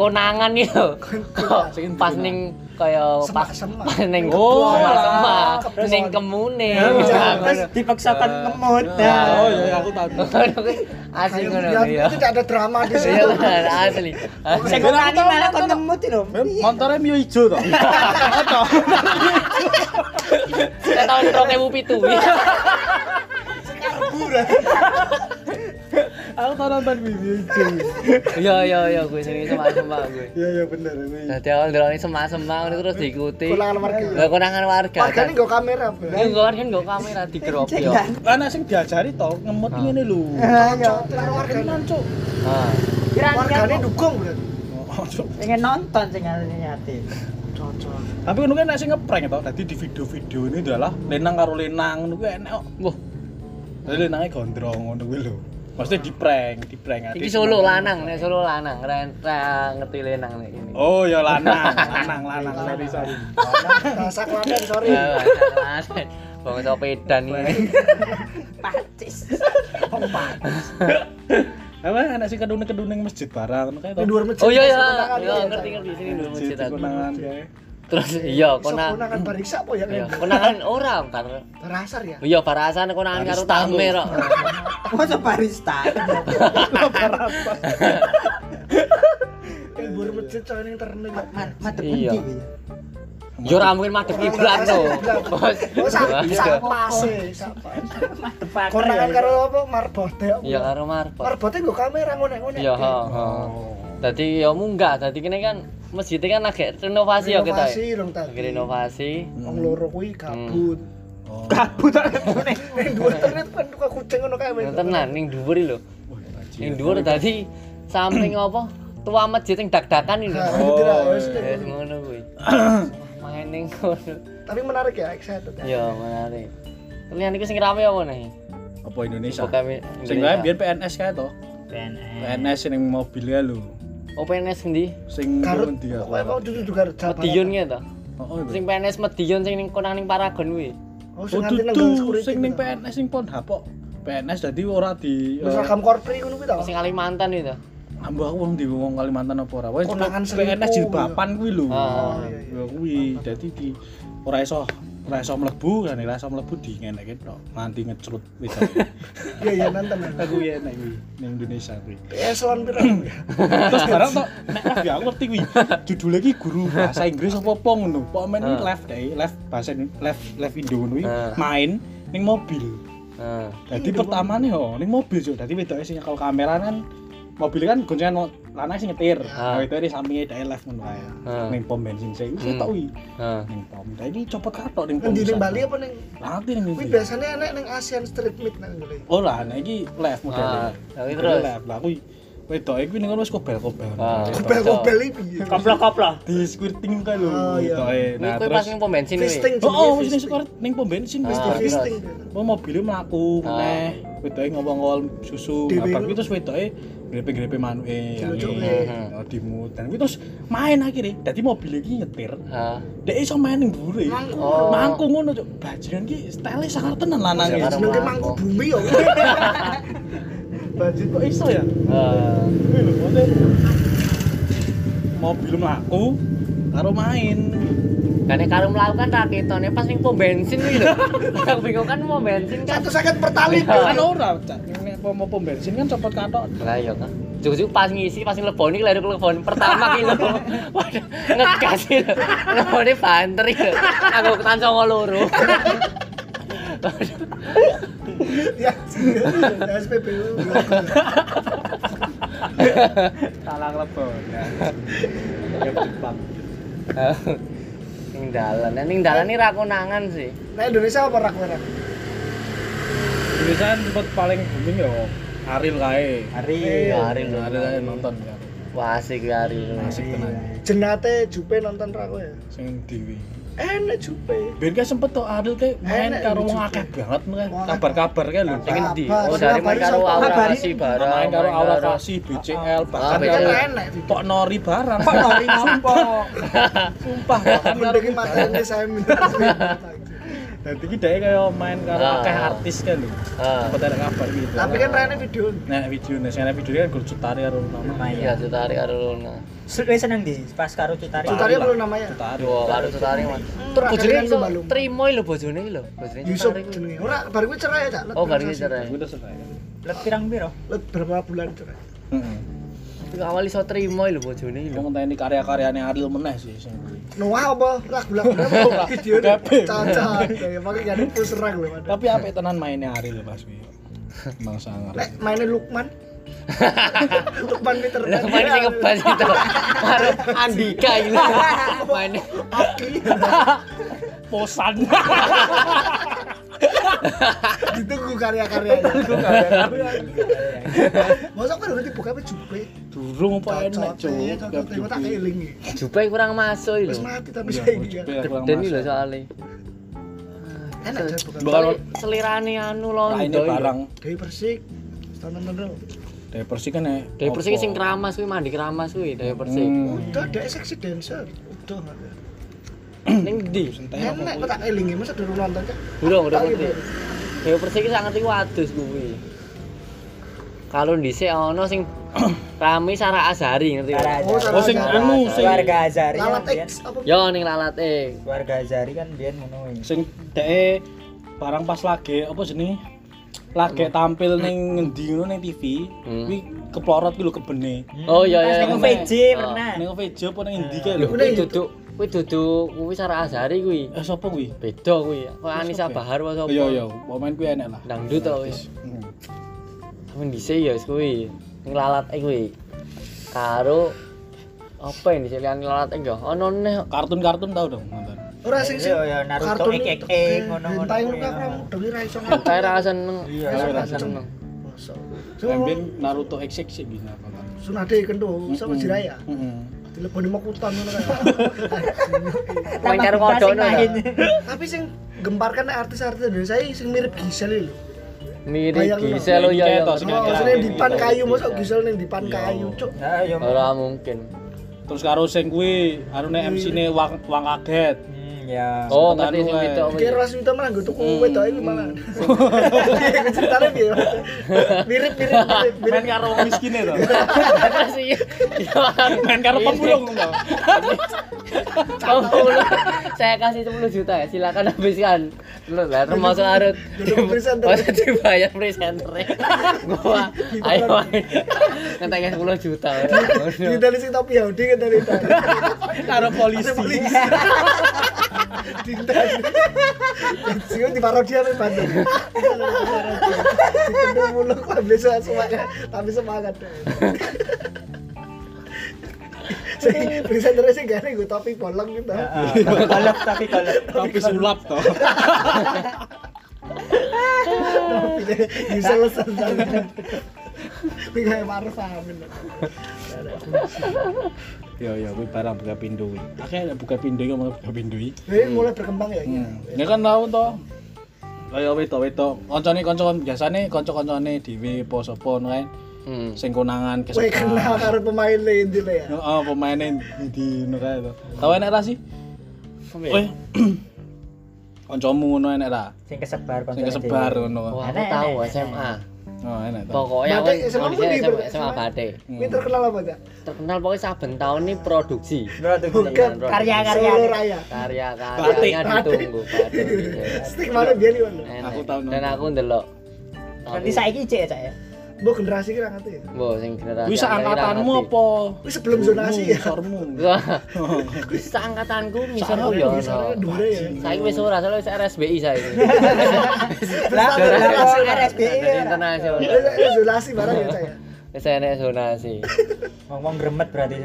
Speaker 2: Konangan iki lho. Kok
Speaker 1: Sing
Speaker 2: pas ning kaya pas
Speaker 3: Semak- semak.
Speaker 2: pas ning
Speaker 1: Oh,
Speaker 2: semak-semak,
Speaker 3: kepon.
Speaker 2: ning kemune.
Speaker 4: Terus dipaksakan ngemut.
Speaker 1: Oh iya, aku tahu.
Speaker 2: Asik
Speaker 3: Kayak
Speaker 2: ngono
Speaker 3: lihat gitu,
Speaker 2: ya.
Speaker 3: Itu tidak ada drama di
Speaker 2: Iya
Speaker 3: situ.
Speaker 2: bener, asli.
Speaker 4: Saya
Speaker 1: Aku
Speaker 4: ngomongin
Speaker 1: tahu,
Speaker 4: malah
Speaker 1: aku
Speaker 4: kon
Speaker 1: tahu.
Speaker 4: ngemut iki lho.
Speaker 1: Mem, Motornya Mio ijo toh.
Speaker 2: Saya tahun 2007. ya.
Speaker 1: Aku tau nonton Mio ijo.
Speaker 2: Iya iya iya gue sing semak-semak gue.
Speaker 1: Iya iya bener. ini.
Speaker 2: Dadi awal ndelok semak-semak terus diikuti.
Speaker 3: Kulangan warga.
Speaker 2: Lah konangan warga.
Speaker 3: Warga ini nggak kamera. Bu.
Speaker 2: Ini gue kan gue kamera di grup yo.
Speaker 4: Cekan.
Speaker 1: Lah anak sing diajari toh ngemut
Speaker 2: Ah.
Speaker 1: ngene lho.
Speaker 4: Ayo.
Speaker 3: Kulangan warga ini.
Speaker 1: Tenan cuk.
Speaker 2: Ah.
Speaker 4: Kira-kira
Speaker 3: Warganya dukung berarti.
Speaker 1: Oh, Cuk.
Speaker 4: pengen nonton sing nyati.
Speaker 3: Cocok.
Speaker 1: Tapi ngono kan nek sing ngeprank toh. Dadi di video-video ini adalah lenang karo lenang ngono kuwi enak kok.
Speaker 2: Wah,
Speaker 1: Dadi lenange gondrong ngono kuwi lho. Maksudnya di prank, di prank
Speaker 2: iki solo lanang, nek solo lanang, keren ra ngerti lenang nek ini.
Speaker 1: Oh ya lanang, lanang, lanang, sorry sorry.
Speaker 3: Bahasa Klaten, sorry.
Speaker 2: Iya. Bang sopedan ini.
Speaker 4: Pacis.
Speaker 1: Apa anak sing kedune-kedune masjid barang ngono kae
Speaker 3: Di
Speaker 1: toh.
Speaker 3: luar masjid.
Speaker 2: Oh iya iya,
Speaker 3: konangan,
Speaker 2: iya ngerti ngerti sini dulu
Speaker 1: Masjid
Speaker 2: masjid aku.
Speaker 1: konangan kae.
Speaker 2: Terus iya
Speaker 3: Bisa
Speaker 2: kona.
Speaker 3: konangan bariksa apa ya?
Speaker 2: Iya, konangan ora kan.
Speaker 3: Terasar ya.
Speaker 2: Iya barasan konangan karo
Speaker 1: Barista
Speaker 2: tamu
Speaker 1: lu.
Speaker 2: rok.
Speaker 4: Masa barista.
Speaker 3: Di luar masjid coy ini terning.
Speaker 4: Mantep
Speaker 2: Iya. Yo ora mungkin madhep kiblat to. Bos.
Speaker 3: Oh, sak
Speaker 2: Iya.
Speaker 3: sak pase, sak pase.
Speaker 4: Mantep
Speaker 3: Konangan karo apa? Marbote. apa?
Speaker 2: Iya karo marbot.
Speaker 3: Marbote nggo kamera ngonek-ngonek.
Speaker 2: Iya, ha. ha. Dadi yo munggah, dadi kene kan masjid kan agak renovasi ya kita. Hmm.
Speaker 3: Renovasi dong tadi.
Speaker 2: Lagi renovasi.
Speaker 3: Wong loro kuwi kabut.
Speaker 1: Oh.
Speaker 3: Kabut tak ketune. Ning dhuwur tenet kan tuku kucing ngono kae.
Speaker 2: Yang tenan ning dhuwur iki lho.
Speaker 1: Wah, bajingan.
Speaker 2: Ning dhuwur tadi samping apa? Tua masjid yang dak-dakan ini.
Speaker 3: Nah,
Speaker 2: lho.
Speaker 3: gitu lah,
Speaker 1: Oh,
Speaker 3: wes deh.
Speaker 2: Wes ngono kuwi. Main ning kono.
Speaker 3: Tapi menarik ya, excited ya.
Speaker 2: Ya menarik. Kalian iku sing rame apa nih?
Speaker 1: Apa Indonesia?
Speaker 2: Bukan mi-
Speaker 1: Sing
Speaker 2: Indonesia.
Speaker 1: kae biyen PNS kae toh. PNS ning mobilnya lho.
Speaker 2: Oh PNS ngendi?
Speaker 1: Sing
Speaker 3: Garut.
Speaker 1: ndi aku.
Speaker 3: Pokoknya kau duduk di Garut. Jawa Barat.
Speaker 2: Medion gitu.
Speaker 1: Oh, iya.
Speaker 2: Sing PNS Medion sing ning konang ning Paragon kuwi.
Speaker 3: Oh, sing
Speaker 1: Oh,
Speaker 3: nganti nang
Speaker 1: dudu
Speaker 3: security
Speaker 1: sing ning
Speaker 3: gitu.
Speaker 1: PNS sing pon hapok. PNS dadi ora di eh,
Speaker 3: Wis Seragam korpri ngono kuwi tau.
Speaker 2: Sing Kalimantan itu.
Speaker 1: ambu aku wong di wong Kalimantan apa ora. Wes
Speaker 3: Konangan
Speaker 1: PNS
Speaker 3: selingkuh.
Speaker 1: jilbaban kuwi lho.
Speaker 3: Oh,
Speaker 2: Ah.
Speaker 1: Ya kuwi dadi di ora iso ora iso mlebu kan ora iso mlebu di ngeneke tok. Nganti ngecrut wis.
Speaker 3: Iya iya nanti nanti.
Speaker 1: Aku ya nek kuwi ning Indonesia kuwi.
Speaker 3: Eselon pira.
Speaker 1: Terus barang tok nek live ya aku ngerti kuwi. Judule iki guru bahasa Inggris apa apa ngono. Pokoknya men iki
Speaker 2: Ah.
Speaker 1: live deh, live bahasa Ind- live live Indo ngono kuwi
Speaker 2: Ah.
Speaker 1: main ning mobil.
Speaker 2: Heeh.
Speaker 1: Jadi pertama
Speaker 2: iya.
Speaker 1: nih ho, ini mobil jo. Jadi wedoknya sih kalau kamera kan mobil kan goncengan mau lanang sih nyetir. Nah,
Speaker 2: Ah.
Speaker 1: itu di sampingnya dae left ngono ae.
Speaker 2: Ah.
Speaker 1: Ning pom bensin sih. Wis
Speaker 2: Hmm.
Speaker 1: tak wi.
Speaker 2: Heeh.
Speaker 1: Ning pom. Lah ini copot katok ning pom.
Speaker 3: Nang di ning
Speaker 1: sak.
Speaker 3: Bali apa ning?
Speaker 1: Lati ning
Speaker 3: Kuwi
Speaker 1: ndi?
Speaker 3: biasanya enak ning Asian Street Meat nang ngene.
Speaker 1: Oh lah, nah iki left modelnya.
Speaker 2: Ah, tapi
Speaker 1: Modelnya
Speaker 2: terus?
Speaker 1: left. Lah kuwi wedoknya kuwi ning ngono wis kobel-kobel.
Speaker 2: Ah.
Speaker 3: Kobel-kobel iki piye?
Speaker 4: koplo-koplo
Speaker 1: Di squirting kan lho
Speaker 3: Oh, iya.
Speaker 1: wedoknya.
Speaker 2: Ah, Kuwi
Speaker 1: Nah,
Speaker 2: kuwi pas
Speaker 1: terus
Speaker 2: ning pom bensin kuwi.
Speaker 3: Fisting
Speaker 1: Oh, oh, wis ning
Speaker 3: jenenge
Speaker 1: skor ning pom bensin wis
Speaker 2: Ah.
Speaker 1: terus.
Speaker 3: fisting.
Speaker 1: Mau mobilnya melaku,
Speaker 2: Ah.
Speaker 1: meneh. Wedoknya ngomong-ngomong susu,
Speaker 3: Dewe
Speaker 1: apa
Speaker 3: lu.
Speaker 1: gitu terus wedoknya grepe-grepe manuke, Nah, iya. Oh,
Speaker 3: Dilucuke.
Speaker 1: dimut. Dan itu terus main akhirnya. Dadi mobil iki nyetir,
Speaker 2: Heeh.
Speaker 1: dek iso main ning mburi.
Speaker 3: Mangku.
Speaker 2: Oh.
Speaker 1: Mangku ngono, Cuk. Bajingan ki style sangar tenan lanang iki.
Speaker 2: Iya, karena-
Speaker 3: Jenenge mangku bumi ya. yo.
Speaker 1: Bajing kok iso ya?
Speaker 2: Heeh.
Speaker 1: Kuwi lho, maksudnya mobil melaku karo main.
Speaker 2: Kan karo mlaku kan ra ketone pas ning pom bensin kuwi lho. Aku bingung kan pom bensin kan.
Speaker 3: 150 per tali.
Speaker 2: Ah.
Speaker 1: Kan ora, Cak. Nek pom pom bensin kan copot katok.
Speaker 2: Lah iya kan. Jujuk pas ngisi pas ngeleboni iki lho ngeleboni pertama ki lho. Waduh, Ngegas ki lho. Ngeleboni banteri lho. Aku ketan songo loro.
Speaker 3: Ya. SPBU.
Speaker 1: Salah lebon. Ya Jepang.
Speaker 2: Ning dalan, Nah, ning dalan iki ra konangan sih.
Speaker 3: Nah Indonesia apa rak merah?
Speaker 1: Indonesia kan sempat paling booming ya Aril kae.
Speaker 4: hari
Speaker 2: Aril Iya, lho.
Speaker 1: Aril kae nonton ya.
Speaker 2: Wah, asik ya Aril.
Speaker 1: Asik tenan.
Speaker 3: Jenate Jupe nonton rak kowe.
Speaker 1: Sing dewi.
Speaker 3: Enak Jupe.
Speaker 1: Ben kae sempet to Aril kae main
Speaker 3: Enak,
Speaker 1: karo
Speaker 3: lucu.
Speaker 1: wong akeh banget kae.
Speaker 3: Wong akeh.
Speaker 1: Kabar-kabar kae lho.
Speaker 2: Sing endi?
Speaker 3: Kabar,
Speaker 2: Oh, dari main karo
Speaker 3: kabar,
Speaker 2: Aura
Speaker 4: kabar.
Speaker 2: Kasih bareng.
Speaker 1: Main karo Aura Kasih, BCL, bahkan
Speaker 2: Ah,
Speaker 3: Kan
Speaker 1: karo
Speaker 2: BCL.
Speaker 3: enak.
Speaker 1: Tok Nori barang. Tok Nori sumpah. Sumpah bahkan karo
Speaker 3: Mending matanya saya minta.
Speaker 1: Dadi ki dhek kaya main karo
Speaker 2: Ah.
Speaker 1: akeh artis kae lho.
Speaker 2: Ah.
Speaker 1: Sempet ada kabar gitu.
Speaker 3: Tapi kan Rene video.
Speaker 1: Nek video nek sing ana video kan Gurcut Tari karo nama.
Speaker 2: Iya, Cutari karo Luna.
Speaker 4: Sudah seneng di pas karo cutari
Speaker 3: Cutari apa lu namanya?
Speaker 1: Cutari.
Speaker 2: Dua karo Cutari Mas.
Speaker 3: Tur akeh
Speaker 2: Bojone
Speaker 3: dengan
Speaker 2: iso
Speaker 3: lumba-lumba.
Speaker 2: trimo lho bojone iki lho. Bojone
Speaker 3: Yusuf
Speaker 2: Cutari kuwi.
Speaker 3: jenenge. Ora bar kuwi cerai ya, Cak. Let
Speaker 2: Oh,
Speaker 3: berapa
Speaker 2: baru
Speaker 3: sih?
Speaker 2: cerai.
Speaker 1: Gue udah selesai.
Speaker 4: Lep pirang piro?
Speaker 3: Let berapa bulan cerai?
Speaker 1: Heeh.
Speaker 2: Iku awal iso trimo lho bojone iki lho.
Speaker 1: Wong ngenteni karya-karyane Ariel meneh sih sing kuwi.
Speaker 3: Noah apa? Lah bulan berapa? Video ini.
Speaker 1: Gape.
Speaker 3: Caca. Ya pakai gak ada serang lho. padahal.
Speaker 1: Tapi apik tenan mainnya Ariel pas kuwi.
Speaker 3: Iya.
Speaker 1: Emang sangar.
Speaker 3: Lek Eh, mainnya Lukman. Lukman Peter
Speaker 2: Lah
Speaker 3: Iya,
Speaker 2: main sing ngebas itu. Karo Andika iki lho. Main
Speaker 3: Aki.
Speaker 1: Posan.
Speaker 3: Ditunggu karya-karyanya. Masa kan udah dibuka apa jupe?
Speaker 1: Durung apa enak, Cuk.
Speaker 3: Cocok, cocok, tengok tak kelingi.
Speaker 2: Jupe Iya. kurang masuk iki
Speaker 3: Terus
Speaker 2: lho.
Speaker 3: mati tapi
Speaker 1: Iya,
Speaker 3: saya gini.
Speaker 2: Gede iki lho soalé.
Speaker 3: Enak aja bukan.
Speaker 1: Bukan
Speaker 2: Soalé Selirane anu londo.
Speaker 1: lainnya
Speaker 2: iki lho.
Speaker 1: Nah, barang.
Speaker 3: Dewi Persik. Tonton tonton.
Speaker 1: Dari Persik kan ya.
Speaker 2: Dari Persik
Speaker 1: apa?
Speaker 2: sing keramas kuwi mandi keramas kuwi dari Persik.
Speaker 1: Hmm.
Speaker 3: Udah ada seksi dancer. Udah.
Speaker 2: Ning ndi?
Speaker 1: Sentai apa
Speaker 3: Enak
Speaker 1: kuwi?
Speaker 3: kok tak kelingi masa durung nonton Cak?
Speaker 2: Durung, udah
Speaker 3: Tahu,
Speaker 2: ngerti.
Speaker 3: Bro.
Speaker 2: Dewa Persik iki sangat wadus kuwi. Kalau dhisik ana sing rame Sarah Azhari ngerti.
Speaker 4: Sarah
Speaker 2: ora?
Speaker 4: Azhari.
Speaker 3: Oh,
Speaker 1: Oh sing
Speaker 3: Sarah-
Speaker 1: anu sing
Speaker 4: Keluarga Azari
Speaker 3: Lalat
Speaker 4: kan biyen.
Speaker 3: X apa?
Speaker 2: Yo ning lalate.
Speaker 4: Keluarga Azari kan biyen ngono wis.
Speaker 1: sing dhek barang pas lagi apa jenenge? Lagi tampil ning ngendi ngono ning TV,
Speaker 2: Hmm.
Speaker 1: kuwi keplorot kuwi lho kebene.
Speaker 2: Oh iya iya.
Speaker 4: Pas
Speaker 2: iya.
Speaker 4: ning VJ
Speaker 2: Oh.
Speaker 3: Eh.
Speaker 4: pernah.
Speaker 1: Ning video apa ning ngendi kae
Speaker 2: Lho
Speaker 1: lho.
Speaker 3: Udah
Speaker 2: kuwi
Speaker 3: itu.
Speaker 2: duduk kuwi duduk kuwi Sarah Azhari kuwi.
Speaker 1: Eh sapa kuwi?
Speaker 2: Beda kuwi. Kok Anissa
Speaker 1: sapa ya?
Speaker 2: Bahar apa sapa?
Speaker 1: Iya iya, pemain kuwi enak lah.
Speaker 2: Dangdut to wis.
Speaker 1: Hmm.
Speaker 2: Tapi dhisik ya wis kuwi. Ning lalate kuwi. Karo apa yang dhisik liyan lalate yo. Ono neh
Speaker 1: Kartun-kartun tau dong nonton.
Speaker 3: Ora sing sing.
Speaker 4: Iya, iya, Naruto,
Speaker 3: kartun
Speaker 4: ek, ek,
Speaker 3: itu,
Speaker 4: ek,
Speaker 3: eh,
Speaker 4: ngono-ngono.
Speaker 3: hentai ngono kan kamu demi ra iso ngono.
Speaker 2: Kayak ra seneng.
Speaker 4: Iya,
Speaker 2: Ra
Speaker 1: ra
Speaker 2: seneng.
Speaker 3: Masa.
Speaker 1: Pemben Naruto XX gitu nonton.
Speaker 3: Sunade kendo sama Jiraya.
Speaker 1: Heeh.
Speaker 3: Dileboni makutan ngono kan.
Speaker 2: Main karo
Speaker 4: Tambah
Speaker 2: kodok
Speaker 4: sing
Speaker 2: no,
Speaker 4: main.
Speaker 3: Tapi sing gemparkan artis-artis Indonesia iki sing mirip Gisel iki lho.
Speaker 2: Mirip
Speaker 3: Bayang no.
Speaker 2: Gisel yo
Speaker 1: Kayak
Speaker 2: yo.
Speaker 1: to,
Speaker 3: Oh,
Speaker 1: Kira-kira
Speaker 3: sing
Speaker 1: ini
Speaker 3: dipan
Speaker 1: gitu. Oh,
Speaker 3: kayu mosok Gisel ning dipan kayu, Cuk.
Speaker 4: Nah, yo.
Speaker 2: Ora mungkin.
Speaker 1: Terus karo sing kuwi, anu arune MC-ne Wang Wang Kaget.
Speaker 4: Hmm, ya.
Speaker 2: Oh,
Speaker 1: Sementara
Speaker 2: ngerti sing
Speaker 1: wae.
Speaker 2: itu.
Speaker 3: Kira ras itu malah gue
Speaker 1: Hmm.
Speaker 3: tuku wedok iki malah. Iku ceritane piye? Mas? Mirip mirip mirip. mirip.
Speaker 1: Main karo wong miskin to.
Speaker 2: Terus iya.
Speaker 1: Main karo pemulung to.
Speaker 2: Kamu pulang. Saya kasih 10 juta ya, silakan habiskan. Lu lah termasuk harus
Speaker 3: Jadi presenter.
Speaker 2: Masa dibayar presenternya. Gua ayo main. Ngetanya 10 juta.
Speaker 3: Kita dari sing topi Yahudi kan dari tadi.
Speaker 1: Karo polisi.
Speaker 3: Polisi. Dinta. Sing di parodi apa Bandung? Dikendu mulu kok beli semangat, tapi semangat. Sing presenternya sing gak gue topi bolong gitu.
Speaker 4: Kolok Ah, tapi kolok.
Speaker 1: Tapi sulap toh.
Speaker 3: Topi bisa lesan banget. Ini kayak Maruf Amin.
Speaker 1: Yo yo kuwi barang buka pintu kuwi. Akeh ada buka pintu iki mau buka pintu iki.
Speaker 3: Ini mulai berkembang ya. ini.
Speaker 1: Hmm. Ini kan tau toh. Kaya wedok-wedok, koncone kanca biasane kanca-kancane dhewe apa sapa ngono kan.
Speaker 2: Hmm.
Speaker 1: Sing konangan
Speaker 3: Wih
Speaker 1: kesepak.
Speaker 3: kenal karo pemain lain dulu ya.
Speaker 1: Heeh, pemaine ndi ngono kae to. Tau enek ra sih? Weh. Kancamu ngono enek ra?
Speaker 4: Sing kesebar
Speaker 1: Sing kesebar ngono.
Speaker 2: Wah, aku tahu SMA.
Speaker 1: Oh, enek to.
Speaker 2: Pokoknya aku
Speaker 3: Batik, SMA
Speaker 2: kondisinya
Speaker 3: pun
Speaker 2: SMA,
Speaker 3: di-
Speaker 2: SMA Batik.
Speaker 3: Ini terkenal apa enggak?
Speaker 2: Terkenal pokoknya saben tahun ini produksi.
Speaker 3: Bukan
Speaker 4: Karya-karya.
Speaker 3: Solo Raya.
Speaker 2: Karya-karyanya
Speaker 3: Batik.
Speaker 2: ditunggu Batik. Iya.
Speaker 3: Stik mana biar gimana?
Speaker 2: Enak.
Speaker 1: Aku tahu
Speaker 2: Dan
Speaker 1: nonton.
Speaker 2: aku ndelok.
Speaker 4: Berarti saiki cek ya, Cak ya.
Speaker 3: Bu generasi kira ngerti ya?
Speaker 2: Mbok sing generasi.
Speaker 1: Kuwi sak angkatanmu apa?
Speaker 3: Wih sebelum zonasi ya.
Speaker 1: Sormu.
Speaker 2: Wis angkatanku misalnya yo
Speaker 3: Misalnya
Speaker 2: ono.
Speaker 3: dure ya.
Speaker 2: Saiki wis ora, soalnya wis RSBI saiki.
Speaker 4: Lah,
Speaker 2: Generasi-
Speaker 4: lah, lah, RSBI
Speaker 2: Jadi
Speaker 4: ya.
Speaker 2: internasional.
Speaker 3: Ini saya Zonasi barang ya saya.
Speaker 2: Wis enek zonasi.
Speaker 4: Ngomong gremet berarti.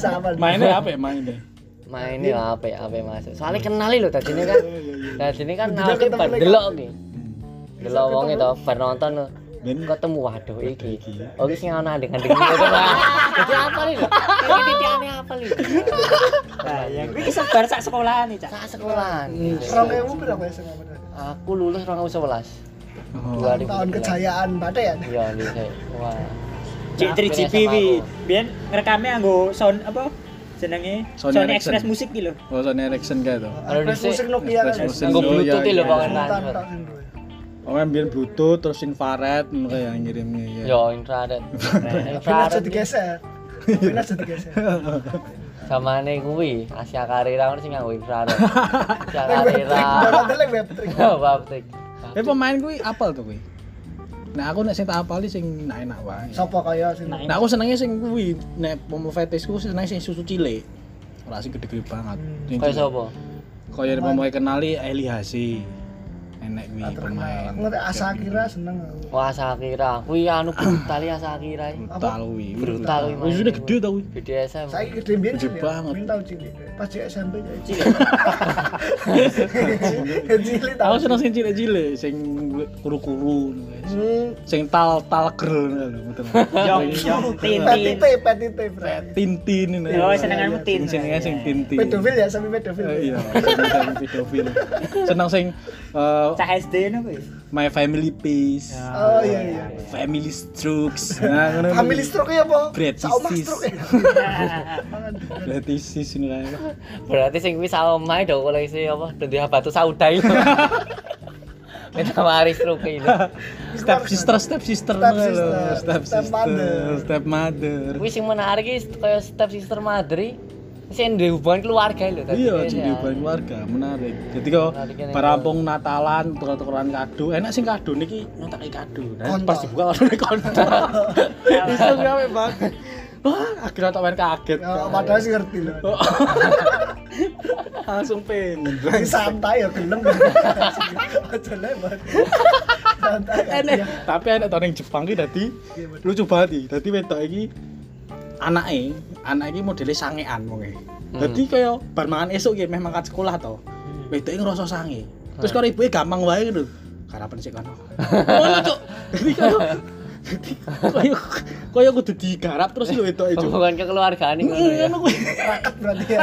Speaker 3: Sama.
Speaker 1: Maine apa ya maine?
Speaker 2: Maine lah ape ape masuk. Soalnya kenali lho dadine kan. Dadine kan
Speaker 3: Bendina
Speaker 2: awake
Speaker 3: ketemu
Speaker 2: bar
Speaker 3: lagi.
Speaker 2: delok iki. Delok wong itu bar nonton lho.
Speaker 1: Ben.
Speaker 2: ketemu waduh iki. Oh iki sing ana andeng-andeng ngono Pak. Jadi apa nih lho? Titik-titikane apa nih?
Speaker 4: Nah, ya kuwi kesebar sak sekolahan iki, Cak.
Speaker 2: Sak sekolahan.
Speaker 3: Ramai kamu berapa ya sama benar?
Speaker 2: Iya. Aku lulus 2011.
Speaker 1: Oh.
Speaker 2: 2011.
Speaker 3: Tahun kejayaan Batak ya.
Speaker 2: Iya, lise. Wah. Nah,
Speaker 4: Cek 3GP wi. Biyen ngerekame anggo sound apa? Jenenge
Speaker 1: Sony
Speaker 4: Sony,
Speaker 1: Ericsson.
Speaker 4: Express Musik iki lho.
Speaker 1: Oh, Sony Ericsson kae to.
Speaker 2: Kalau
Speaker 3: Terus
Speaker 2: dhisik-
Speaker 3: musik Nokia kan.
Speaker 1: Terus musik.
Speaker 2: Nggo
Speaker 1: Iya,
Speaker 2: bluetooth
Speaker 1: iya,
Speaker 2: lho
Speaker 1: iya.
Speaker 2: pokoke
Speaker 3: Tahun
Speaker 2: transfer.
Speaker 3: tahun ya. dulu.
Speaker 1: Pokoknya Oh, biar Bluetooth terus infrared ngono kayak yang ngirimnya ya.
Speaker 2: Yo infrared.
Speaker 3: Tapi aja
Speaker 2: Infrared.
Speaker 3: digeser. Tapi aja digeser.
Speaker 2: Samane kuwi Asia Karira ngono sing nganggo infrared. Asia
Speaker 3: Lek web trick,
Speaker 2: Karira.
Speaker 3: barang telek web trick.
Speaker 2: Baptik.
Speaker 1: Tapi pemain kuwi apal tuh kuwi. Nah, aku nek sing tak apali sing enak-enak wae.
Speaker 3: Sopo kaya sih?
Speaker 4: Nah,
Speaker 1: Nah, aku senengnya sing kuwi nek pomo fetisku seneng sing susu cilik. Ora sing gede-gede banget. Sing
Speaker 2: Kaya
Speaker 1: cilik.
Speaker 2: sapa?
Speaker 1: Kaya yang pemain kenali Eli Hasi. Enak kuwi
Speaker 3: Aku
Speaker 1: pemain. gitu.
Speaker 3: ngerti asa kira seneng aku.
Speaker 2: Wah Sakira, kuwi anu brutal ya Sakira.
Speaker 1: Brutal kuwi.
Speaker 2: Brutal kuwi.
Speaker 1: Wis udah gede tau kuwi.
Speaker 2: BDSM.
Speaker 3: Saya gede biar
Speaker 1: Gede banget.
Speaker 3: ya. Minta cilik. Pas di SMP cilik.
Speaker 4: Cilik.
Speaker 3: Cilik
Speaker 1: Aku
Speaker 3: tau.
Speaker 1: seneng sing cilik-cilik, sing kuru-kuru ngono guys.
Speaker 3: Hmm.
Speaker 1: Sing tal tal girl ngono lho, betul.
Speaker 4: Yong yong tin tin.
Speaker 3: Petite, petite, bro.
Speaker 1: Tintin ini.
Speaker 4: Yo senenganmu tin. Iya,
Speaker 1: Senengnya sing tintin.
Speaker 3: Pedofil ya, sampai pedofil.
Speaker 1: Eh, Iya, seneng sing pedofil. Seneng sing eh,
Speaker 4: Cak Ya. SD no kuwi.
Speaker 1: my family peace.
Speaker 3: Oh iya iya.
Speaker 1: Family strokes. Nah, ngono.
Speaker 3: Family stroke ya, Po.
Speaker 1: Bretisis.
Speaker 3: Saoma stroke ya.
Speaker 1: Berarti sis ini ya. kayak.
Speaker 2: Berarti sing kuwi saomai do koleksi apa? Dendia batu saudai. Minta waris ruki lho.
Speaker 1: Step sister, step sister.
Speaker 3: Step
Speaker 1: ngono lho.
Speaker 3: sister,
Speaker 1: Step
Speaker 3: step mother.
Speaker 1: sister, step mother.
Speaker 2: Kuwi sing menarik iki kaya step sister Madri. Sing ndek hubungan keluarga lho tadi.
Speaker 1: Iya, jadi hubungan keluarga menarik. Jadi kok
Speaker 2: Menarik ini.
Speaker 1: barampung Natalan, tuker-tukeran kado. Enak sing kado niki nyetak kado. Nah,
Speaker 3: Kontol.
Speaker 1: pas dibuka ono kontol. Bisa gawe banget. Wah, akhirnya tak main kaget.
Speaker 3: Ya, padahal sih ngerti loh.
Speaker 1: Langsung pengen.
Speaker 3: Ini santai ya, gelem. Aja lebar. Santai.
Speaker 1: Enek. Iya. Tapi enek tau ning Jepang ki dadi lucu banget iki. Dadi wedok iki anake, anake iki modele sangean wong e. Dadi kaya bar mangan esuk ki meh mangkat sekolah to. Wedoke ngrasa sange. Terus karo ibuke gampang wae ngono. Karapan sik kono. Ngono cuk. Dadi kaya dadi kaya kaya kudu digarap terus lho wedoke cuk.
Speaker 2: Iya.
Speaker 1: Hmm,
Speaker 2: Hubungan kekeluargaan iki ngono ya.
Speaker 1: Ngono kuwi.
Speaker 3: Raket berarti ya.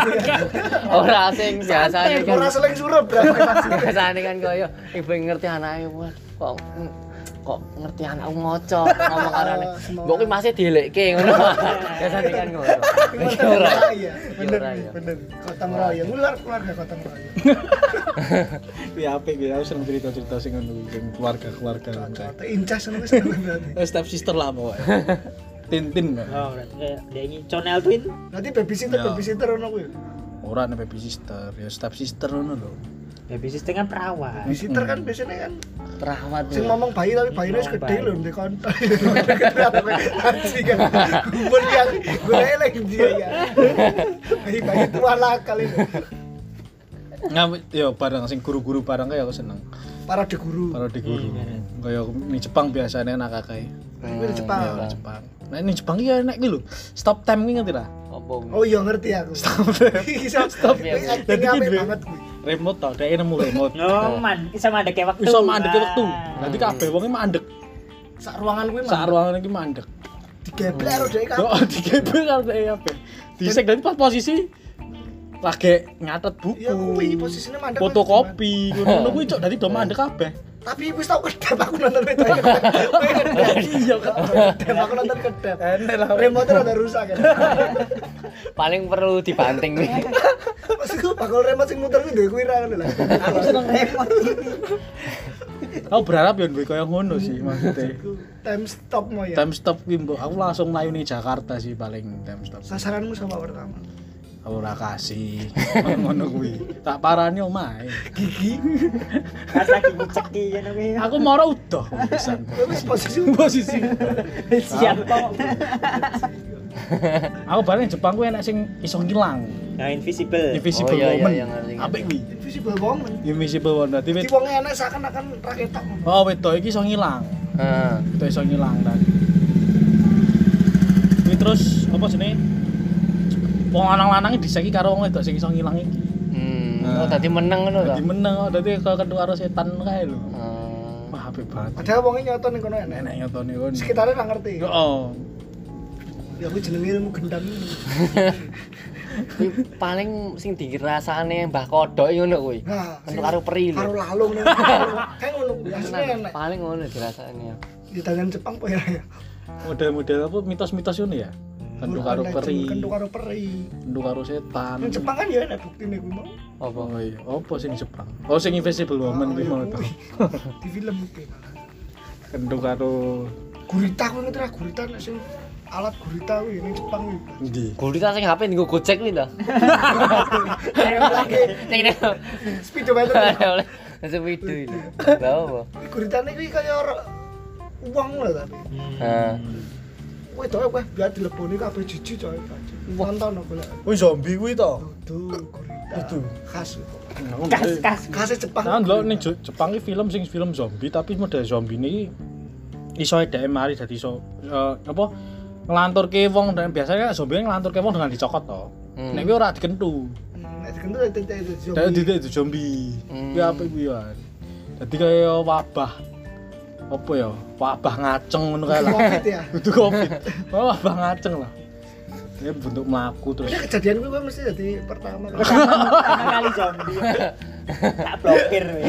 Speaker 2: Ora sing biasane kan.
Speaker 3: Ora seleng surup berarti pasti.
Speaker 2: biasanya kan kaya ibu yang ngerti anaknya wah kok kok ngerti anakku ngocok ngomong karo anak
Speaker 1: Oh,
Speaker 2: mbok kuwi masih dielekke ngono biasanya kan ngono Iki ora
Speaker 3: Iya,
Speaker 2: Iya,
Speaker 3: bener,
Speaker 2: ora, iya.
Speaker 3: bener. Gotong royong, ular keluarga gotong royong.
Speaker 1: Kuwi apik kuwi aku seneng cerita-cerita sing ngono kuwi, sing keluarga-keluarga. ngono.
Speaker 3: Contoh, Incas itu seneng berarti.
Speaker 1: Eh, Step sister lah pokoknya. Tintin. Mbak.
Speaker 4: Oh, berarti kayak dia ini Chonel Twin.
Speaker 3: Berarti babysitter,
Speaker 1: Iya.
Speaker 3: babysitter ono kuwi.
Speaker 1: ora nek baby sister ya step sister ngono lho
Speaker 4: Baby sister kan perawan.
Speaker 3: Babysitter kan biasanya kan
Speaker 2: terawat
Speaker 3: sing
Speaker 1: Iya.
Speaker 3: ngomong bayi tapi bayinya wis gede
Speaker 4: Bayi.
Speaker 3: lho ndek kontol. Anjing kan. Gumpul iya. dia, gue elek dia ya. Bayi bayi tua lah kali ini.
Speaker 1: Ngamuk yo barang sing guru-guru barang kayak aku seneng.
Speaker 3: Para de guru.
Speaker 1: Parodi guru.
Speaker 4: Iya, bener.
Speaker 1: Kayak ini Jepang biasanya anak kakak.
Speaker 3: Ini di
Speaker 1: Ya
Speaker 3: Jepang.
Speaker 1: orang Jepang. Nah ini Jepang iya enak gitu. Stop time ini ngerti lah.
Speaker 2: Apa?
Speaker 3: Oh iya ngerti aku.
Speaker 1: Stop time.
Speaker 3: Bisa
Speaker 1: Stop.
Speaker 3: Ini
Speaker 1: Jadi
Speaker 3: actingnya
Speaker 1: ini
Speaker 3: apik
Speaker 1: duwe
Speaker 3: banget kuwi.
Speaker 1: remote tau, dia nemu remote.
Speaker 4: Ngoman, bisa mandek Oh. kayak waktu.
Speaker 1: Bisa mandek waktu.
Speaker 4: Wah.
Speaker 1: Nanti kabeh wong iki mandek.
Speaker 3: Sak ruangan kuwi
Speaker 1: Sak ruangan iki mandek.
Speaker 3: digeblek karo dhek kan.
Speaker 1: Yo digebel karo dia kabeh. Disek dari pas posisi lagi nyatet
Speaker 3: Ya kuwi
Speaker 1: buku.
Speaker 3: posisinya mandek.
Speaker 1: Fotokopi, ngono kuwi cok dadi do mandek kabeh.
Speaker 3: Tapi wis tau kedep aku nonton itu. Iya kedep aku nonton kedep.
Speaker 1: Enak lah.
Speaker 3: Remote rada rusak kan.
Speaker 2: Paling perlu dibanting nih.
Speaker 3: Maksudku bakal remote sing muter kuwi duwe kuwi ra ngono Eh, lah.
Speaker 4: Aku seneng remote.
Speaker 1: Aku berharap yo duwe koyo ngono sih maksudnya.
Speaker 3: Time stop mau ya.
Speaker 1: Time stop kuwi mbok aku langsung mlayu ning Jakarta sih paling time stop.
Speaker 3: Sasaranmu sama pertama.
Speaker 1: Aku ora kasih ngono kuwi. Tak parani omahe.
Speaker 3: Gigi.
Speaker 4: Ah, Pas lagi ya, ngucek ki ngono kuwi.
Speaker 1: Aku moro udah pisan.
Speaker 3: Terus Ya posisi
Speaker 1: Posisi.
Speaker 4: siap kok.
Speaker 1: Aku bareng Jepang kuwi enak sing iso ngilang.
Speaker 4: Nah, invisible.
Speaker 1: Invisible
Speaker 2: Oh, iya, iya,
Speaker 1: woman.
Speaker 2: iya, ngerti, ngerti.
Speaker 1: Apik kuwi.
Speaker 3: invisible woman.
Speaker 1: Invisible woman berarti
Speaker 3: Iki
Speaker 1: wit-
Speaker 3: wong enak seakan-akan raketok.
Speaker 1: Oh, wedok iki iso ngilang.
Speaker 2: Heeh.
Speaker 1: Wedok iso ngilang dan. Kuwi terus apa jenenge? Wong lanang-lanang diseki karo wong wedok sing iso ngilang iki.
Speaker 2: Hmm.
Speaker 1: Nah.
Speaker 2: Oh, tadi menang ngono to.
Speaker 1: Dadi meneng, dadi kekentuk karo setan kae lho.
Speaker 2: Hmm.
Speaker 1: Wah, apik banget.
Speaker 3: Padahal wongnya nyoto ning kono enak.
Speaker 1: Nenek nyotone kono.
Speaker 3: Sekitarnya nggak ngerti.
Speaker 1: Oh,
Speaker 3: Ya aku jenenge ilmu gendam ini.
Speaker 2: Kuwi paling sing dirasane Mbah Kodok ngono kuwi.
Speaker 3: Nah,
Speaker 2: Untuk karo peri
Speaker 3: Karo
Speaker 2: lho.
Speaker 3: lalung nih. Kayak ngono kuwi, aslinya enak.
Speaker 2: Paling ngono ya dirasane.
Speaker 3: Di tangan Jepang po ya.
Speaker 1: model-model apa mitos-mitos ngono ya? Kenduk karo peri, Anu.
Speaker 3: Kenduk karo peri.
Speaker 1: kenduk karo setan.
Speaker 3: Yang Jepang kan ya enak buktine kuwi mau.
Speaker 2: Apa?
Speaker 1: Oh iya, apa sing Jepang? Oh sing Invisible Woman kuwi
Speaker 3: Ah,
Speaker 1: mau
Speaker 3: iya,
Speaker 1: tau.
Speaker 3: kuwi. Di film kuwi malah.
Speaker 1: Kenduk karo
Speaker 3: Gurita kuwi ngetra gurita nek sing alat gurita kuwi ning Jepang kuwi.
Speaker 1: endi?
Speaker 2: Gurita sing HP nggo Gojek kuwi lho.
Speaker 3: Lagi
Speaker 2: Sing nek-
Speaker 3: speedometer.
Speaker 2: oleh Masuk video ini. Lah apa?
Speaker 3: Kuwi Guritane kuwi kaya ro- uang lho tapi.
Speaker 2: Heeh.
Speaker 3: Kowe to kowe biar dileboni kabeh jijik coy. Nonton aku lek.
Speaker 1: Oh zombie kuwi to.
Speaker 3: Duh, gurita.
Speaker 1: Duh.
Speaker 3: Khas. kuwi.
Speaker 4: Kas kas.
Speaker 3: Khas Jepang. gitu.
Speaker 1: Nah, lho ning Jo- Jepang iki film sing film zombie tapi model zombie ini iso edeke mari dadi iso eh, apa ngelanturke wong dan biasanya kan zombie ngelanturke wong dengan dicokot to.
Speaker 2: Hmm.
Speaker 1: Nek kuwi ora dikentu.
Speaker 3: Nek dikentu itu
Speaker 1: Dadi
Speaker 3: itu zombie.
Speaker 1: titik itu zombie.
Speaker 2: Hmm.
Speaker 1: Kuwi apa kuwi ya? Dadi kaya wabah. Apa ya? Wabah ngaceng ngono kae lah.
Speaker 3: Covid ya.
Speaker 1: Itu Covid. Wabah ngaceng lah. Ini bentuk melaku terus.
Speaker 3: Ini kejadian gue, gue mesti jadi pertama.
Speaker 4: Pertama kali zombie. Tak blokir. weh.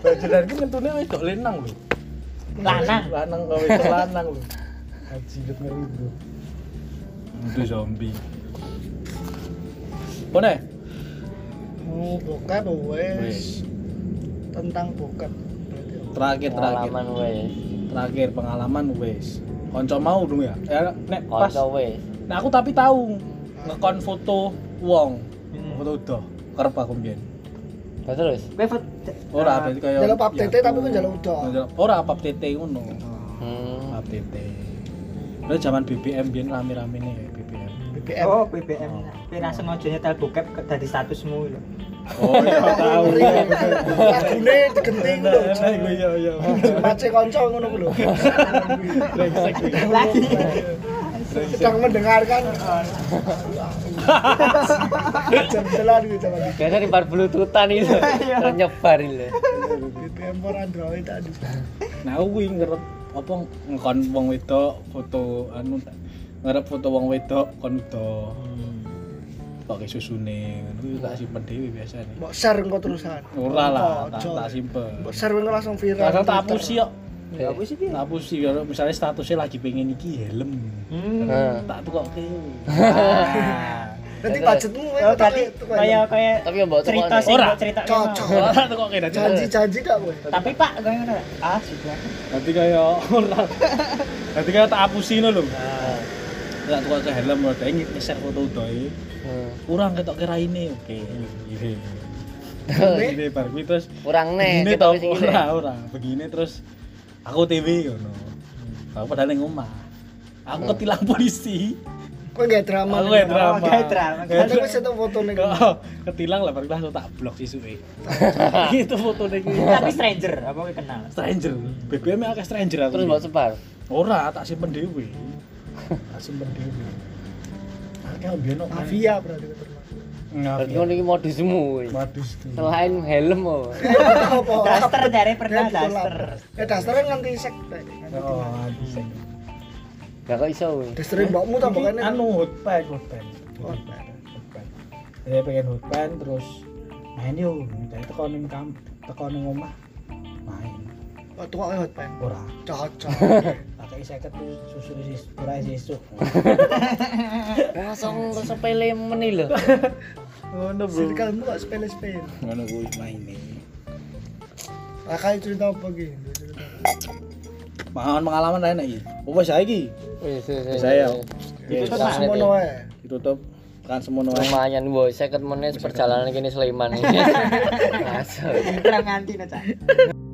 Speaker 1: Bajulan ki ngentune wis dok lenang lho.
Speaker 4: Lanang.
Speaker 1: Lanang kok wis lanang lho. Haji lut ngeri lho. Itu zombie. Pone,
Speaker 3: Mau Oh, bokep wes
Speaker 1: Wes.
Speaker 3: tentang bokep. oh.
Speaker 1: terakhir terakhir
Speaker 2: Pengalaman wes.
Speaker 1: terakhir pengalaman wis. Konco mau dong ya. Ya nek pas.
Speaker 2: Kanca wes.
Speaker 1: Nah aku tapi tahu ngekon foto wong. Foto udah kerep aku mbiyen.
Speaker 2: Lah terus.
Speaker 4: Kowe fot-
Speaker 1: Ora berarti kaya
Speaker 3: Nah, Njaluk pap
Speaker 1: ya,
Speaker 3: tete tapi
Speaker 1: aku-
Speaker 3: kan njaluk udah.
Speaker 1: njaluk- Ora pap tete ngono.
Speaker 3: Oh,
Speaker 2: Hmm.
Speaker 1: Pap tete. Lu zaman BBM biyen rame-rame nih ya BBM.
Speaker 3: BBM.
Speaker 4: Oh, BBM. Kowe ra sengaja nyetel bokep ke- dari statusmu lho.
Speaker 1: Oh iya tahu.
Speaker 3: Lagune digenti gue lho.
Speaker 1: Iya iya.
Speaker 3: Mace konco ngono gue lho.
Speaker 1: Brengsek kuwi.
Speaker 4: Lagi.
Speaker 3: Sedang mendengarkan. Jembelan gue sama di
Speaker 2: Biasa di bar bluetoothan itu. Terus nyebar itu.
Speaker 3: BBM for Android tadi.
Speaker 1: Nah aku kuwi ngerep apa ngkon wong wedok foto anu ngerep foto wong wedok kon udo
Speaker 3: Hmm.
Speaker 1: pakai susune ngono kuwi tak simpen dhewe biasane.
Speaker 3: Mau share engko terusan.
Speaker 1: Ora lah, tak
Speaker 3: Ojo.
Speaker 1: tak simpen.
Speaker 3: Mbok share engko langsung viral.
Speaker 1: Kadang tak
Speaker 3: Twitter.
Speaker 1: hapusi kok.
Speaker 2: Iya.
Speaker 4: Ya wis iki.
Speaker 1: Tak hapusi kalau misalnya statusnya lagi pengen iki helm. Nah,
Speaker 4: Hmm.
Speaker 2: Heeh.
Speaker 1: Tak tukokke.
Speaker 3: Nanti budgetmu kowe
Speaker 1: Eh,
Speaker 4: Oh,
Speaker 3: tak
Speaker 4: tadi
Speaker 3: tuku aja.
Speaker 4: kaya kaya
Speaker 2: Tapi ya yang bawa
Speaker 4: cerita sih,
Speaker 1: Ora.
Speaker 4: cerita
Speaker 3: Cocok.
Speaker 1: Ora tak tukokke dah.
Speaker 3: janji-janji dak kowe.
Speaker 4: Tapi Pak, kaya ngono. Ah, sudah.
Speaker 1: Nanti kaya ora. Nanti kaya tak hapusi ngono lho.
Speaker 3: Nah.
Speaker 1: Tak tukok ke helm ora deng ngeser foto udoe.
Speaker 2: Hmm.
Speaker 1: Kurang ketok kira ini. Oke. Ini. Ini bar kuwi terus
Speaker 2: Kurang nek
Speaker 1: begini
Speaker 2: kita
Speaker 1: tau
Speaker 2: wis iki.
Speaker 1: ora ora. Begini terus
Speaker 2: Hmm.
Speaker 1: aku TV ngono. Aku padahal ning omah. Aku ketilang polisi.
Speaker 3: Kowe gak drama.
Speaker 1: Aku gak drama.
Speaker 4: gak drama.
Speaker 1: Gak
Speaker 3: Ada wis itu fotone kan.
Speaker 1: Kok ketilang lah baru langsung tak blok isuke. Itu fotone iki.
Speaker 4: Tapi stranger, apa kowe kenal?
Speaker 1: stranger. BBM akeh stranger aku.
Speaker 2: Terus mbok sebar.
Speaker 1: Ora, tak simpen dhewe. Tak simpen dhewe. Akeh mbiyen kok
Speaker 3: Mafia berarti termasuk.
Speaker 2: Berarti
Speaker 1: ngapain.
Speaker 2: ngono iki modusmu kuwi.
Speaker 1: Modus tuh.
Speaker 2: Selain helm oh.
Speaker 3: Apa?
Speaker 4: Duster dari pernah
Speaker 3: Red
Speaker 4: duster.
Speaker 3: collab. Ya dasternya nganti sek. Dek. Nganti
Speaker 1: Oh,
Speaker 3: mati.
Speaker 1: anjing.
Speaker 2: Gak kok iso kuwi.
Speaker 3: Dasternya mbakmu
Speaker 1: Iki
Speaker 3: tambahannya.
Speaker 1: anu hotpan, hotpan.
Speaker 3: Hotpan.
Speaker 1: Hotpan. Saya pengen hotpan terus main yo, dari teko ning kam, teko ning omah. Main.
Speaker 3: Waktu kok lewat pen.
Speaker 1: Ora.
Speaker 3: Cocok.
Speaker 1: Pakai seket susu sis, ora sisu.
Speaker 2: Langsung sepele meni lho.
Speaker 1: Ngono,
Speaker 3: Sirkalmu kok sepele-sepele.
Speaker 1: Ngono kuwi maine.
Speaker 3: Lah kali cerita apa gini? Cerita.
Speaker 1: Pengalaman pengalaman lain lagi. Apa saya iki?
Speaker 2: Wis wis. wis.
Speaker 1: Saya. Itu
Speaker 2: Itu
Speaker 3: Terus
Speaker 2: Nah,
Speaker 3: semono
Speaker 2: ini.
Speaker 3: ae.
Speaker 1: ditutup kan semono wae.
Speaker 2: Lumayan boy, 50 menit perjalanan kini Sleman. Masuk.
Speaker 4: Terang nganti no, Cak.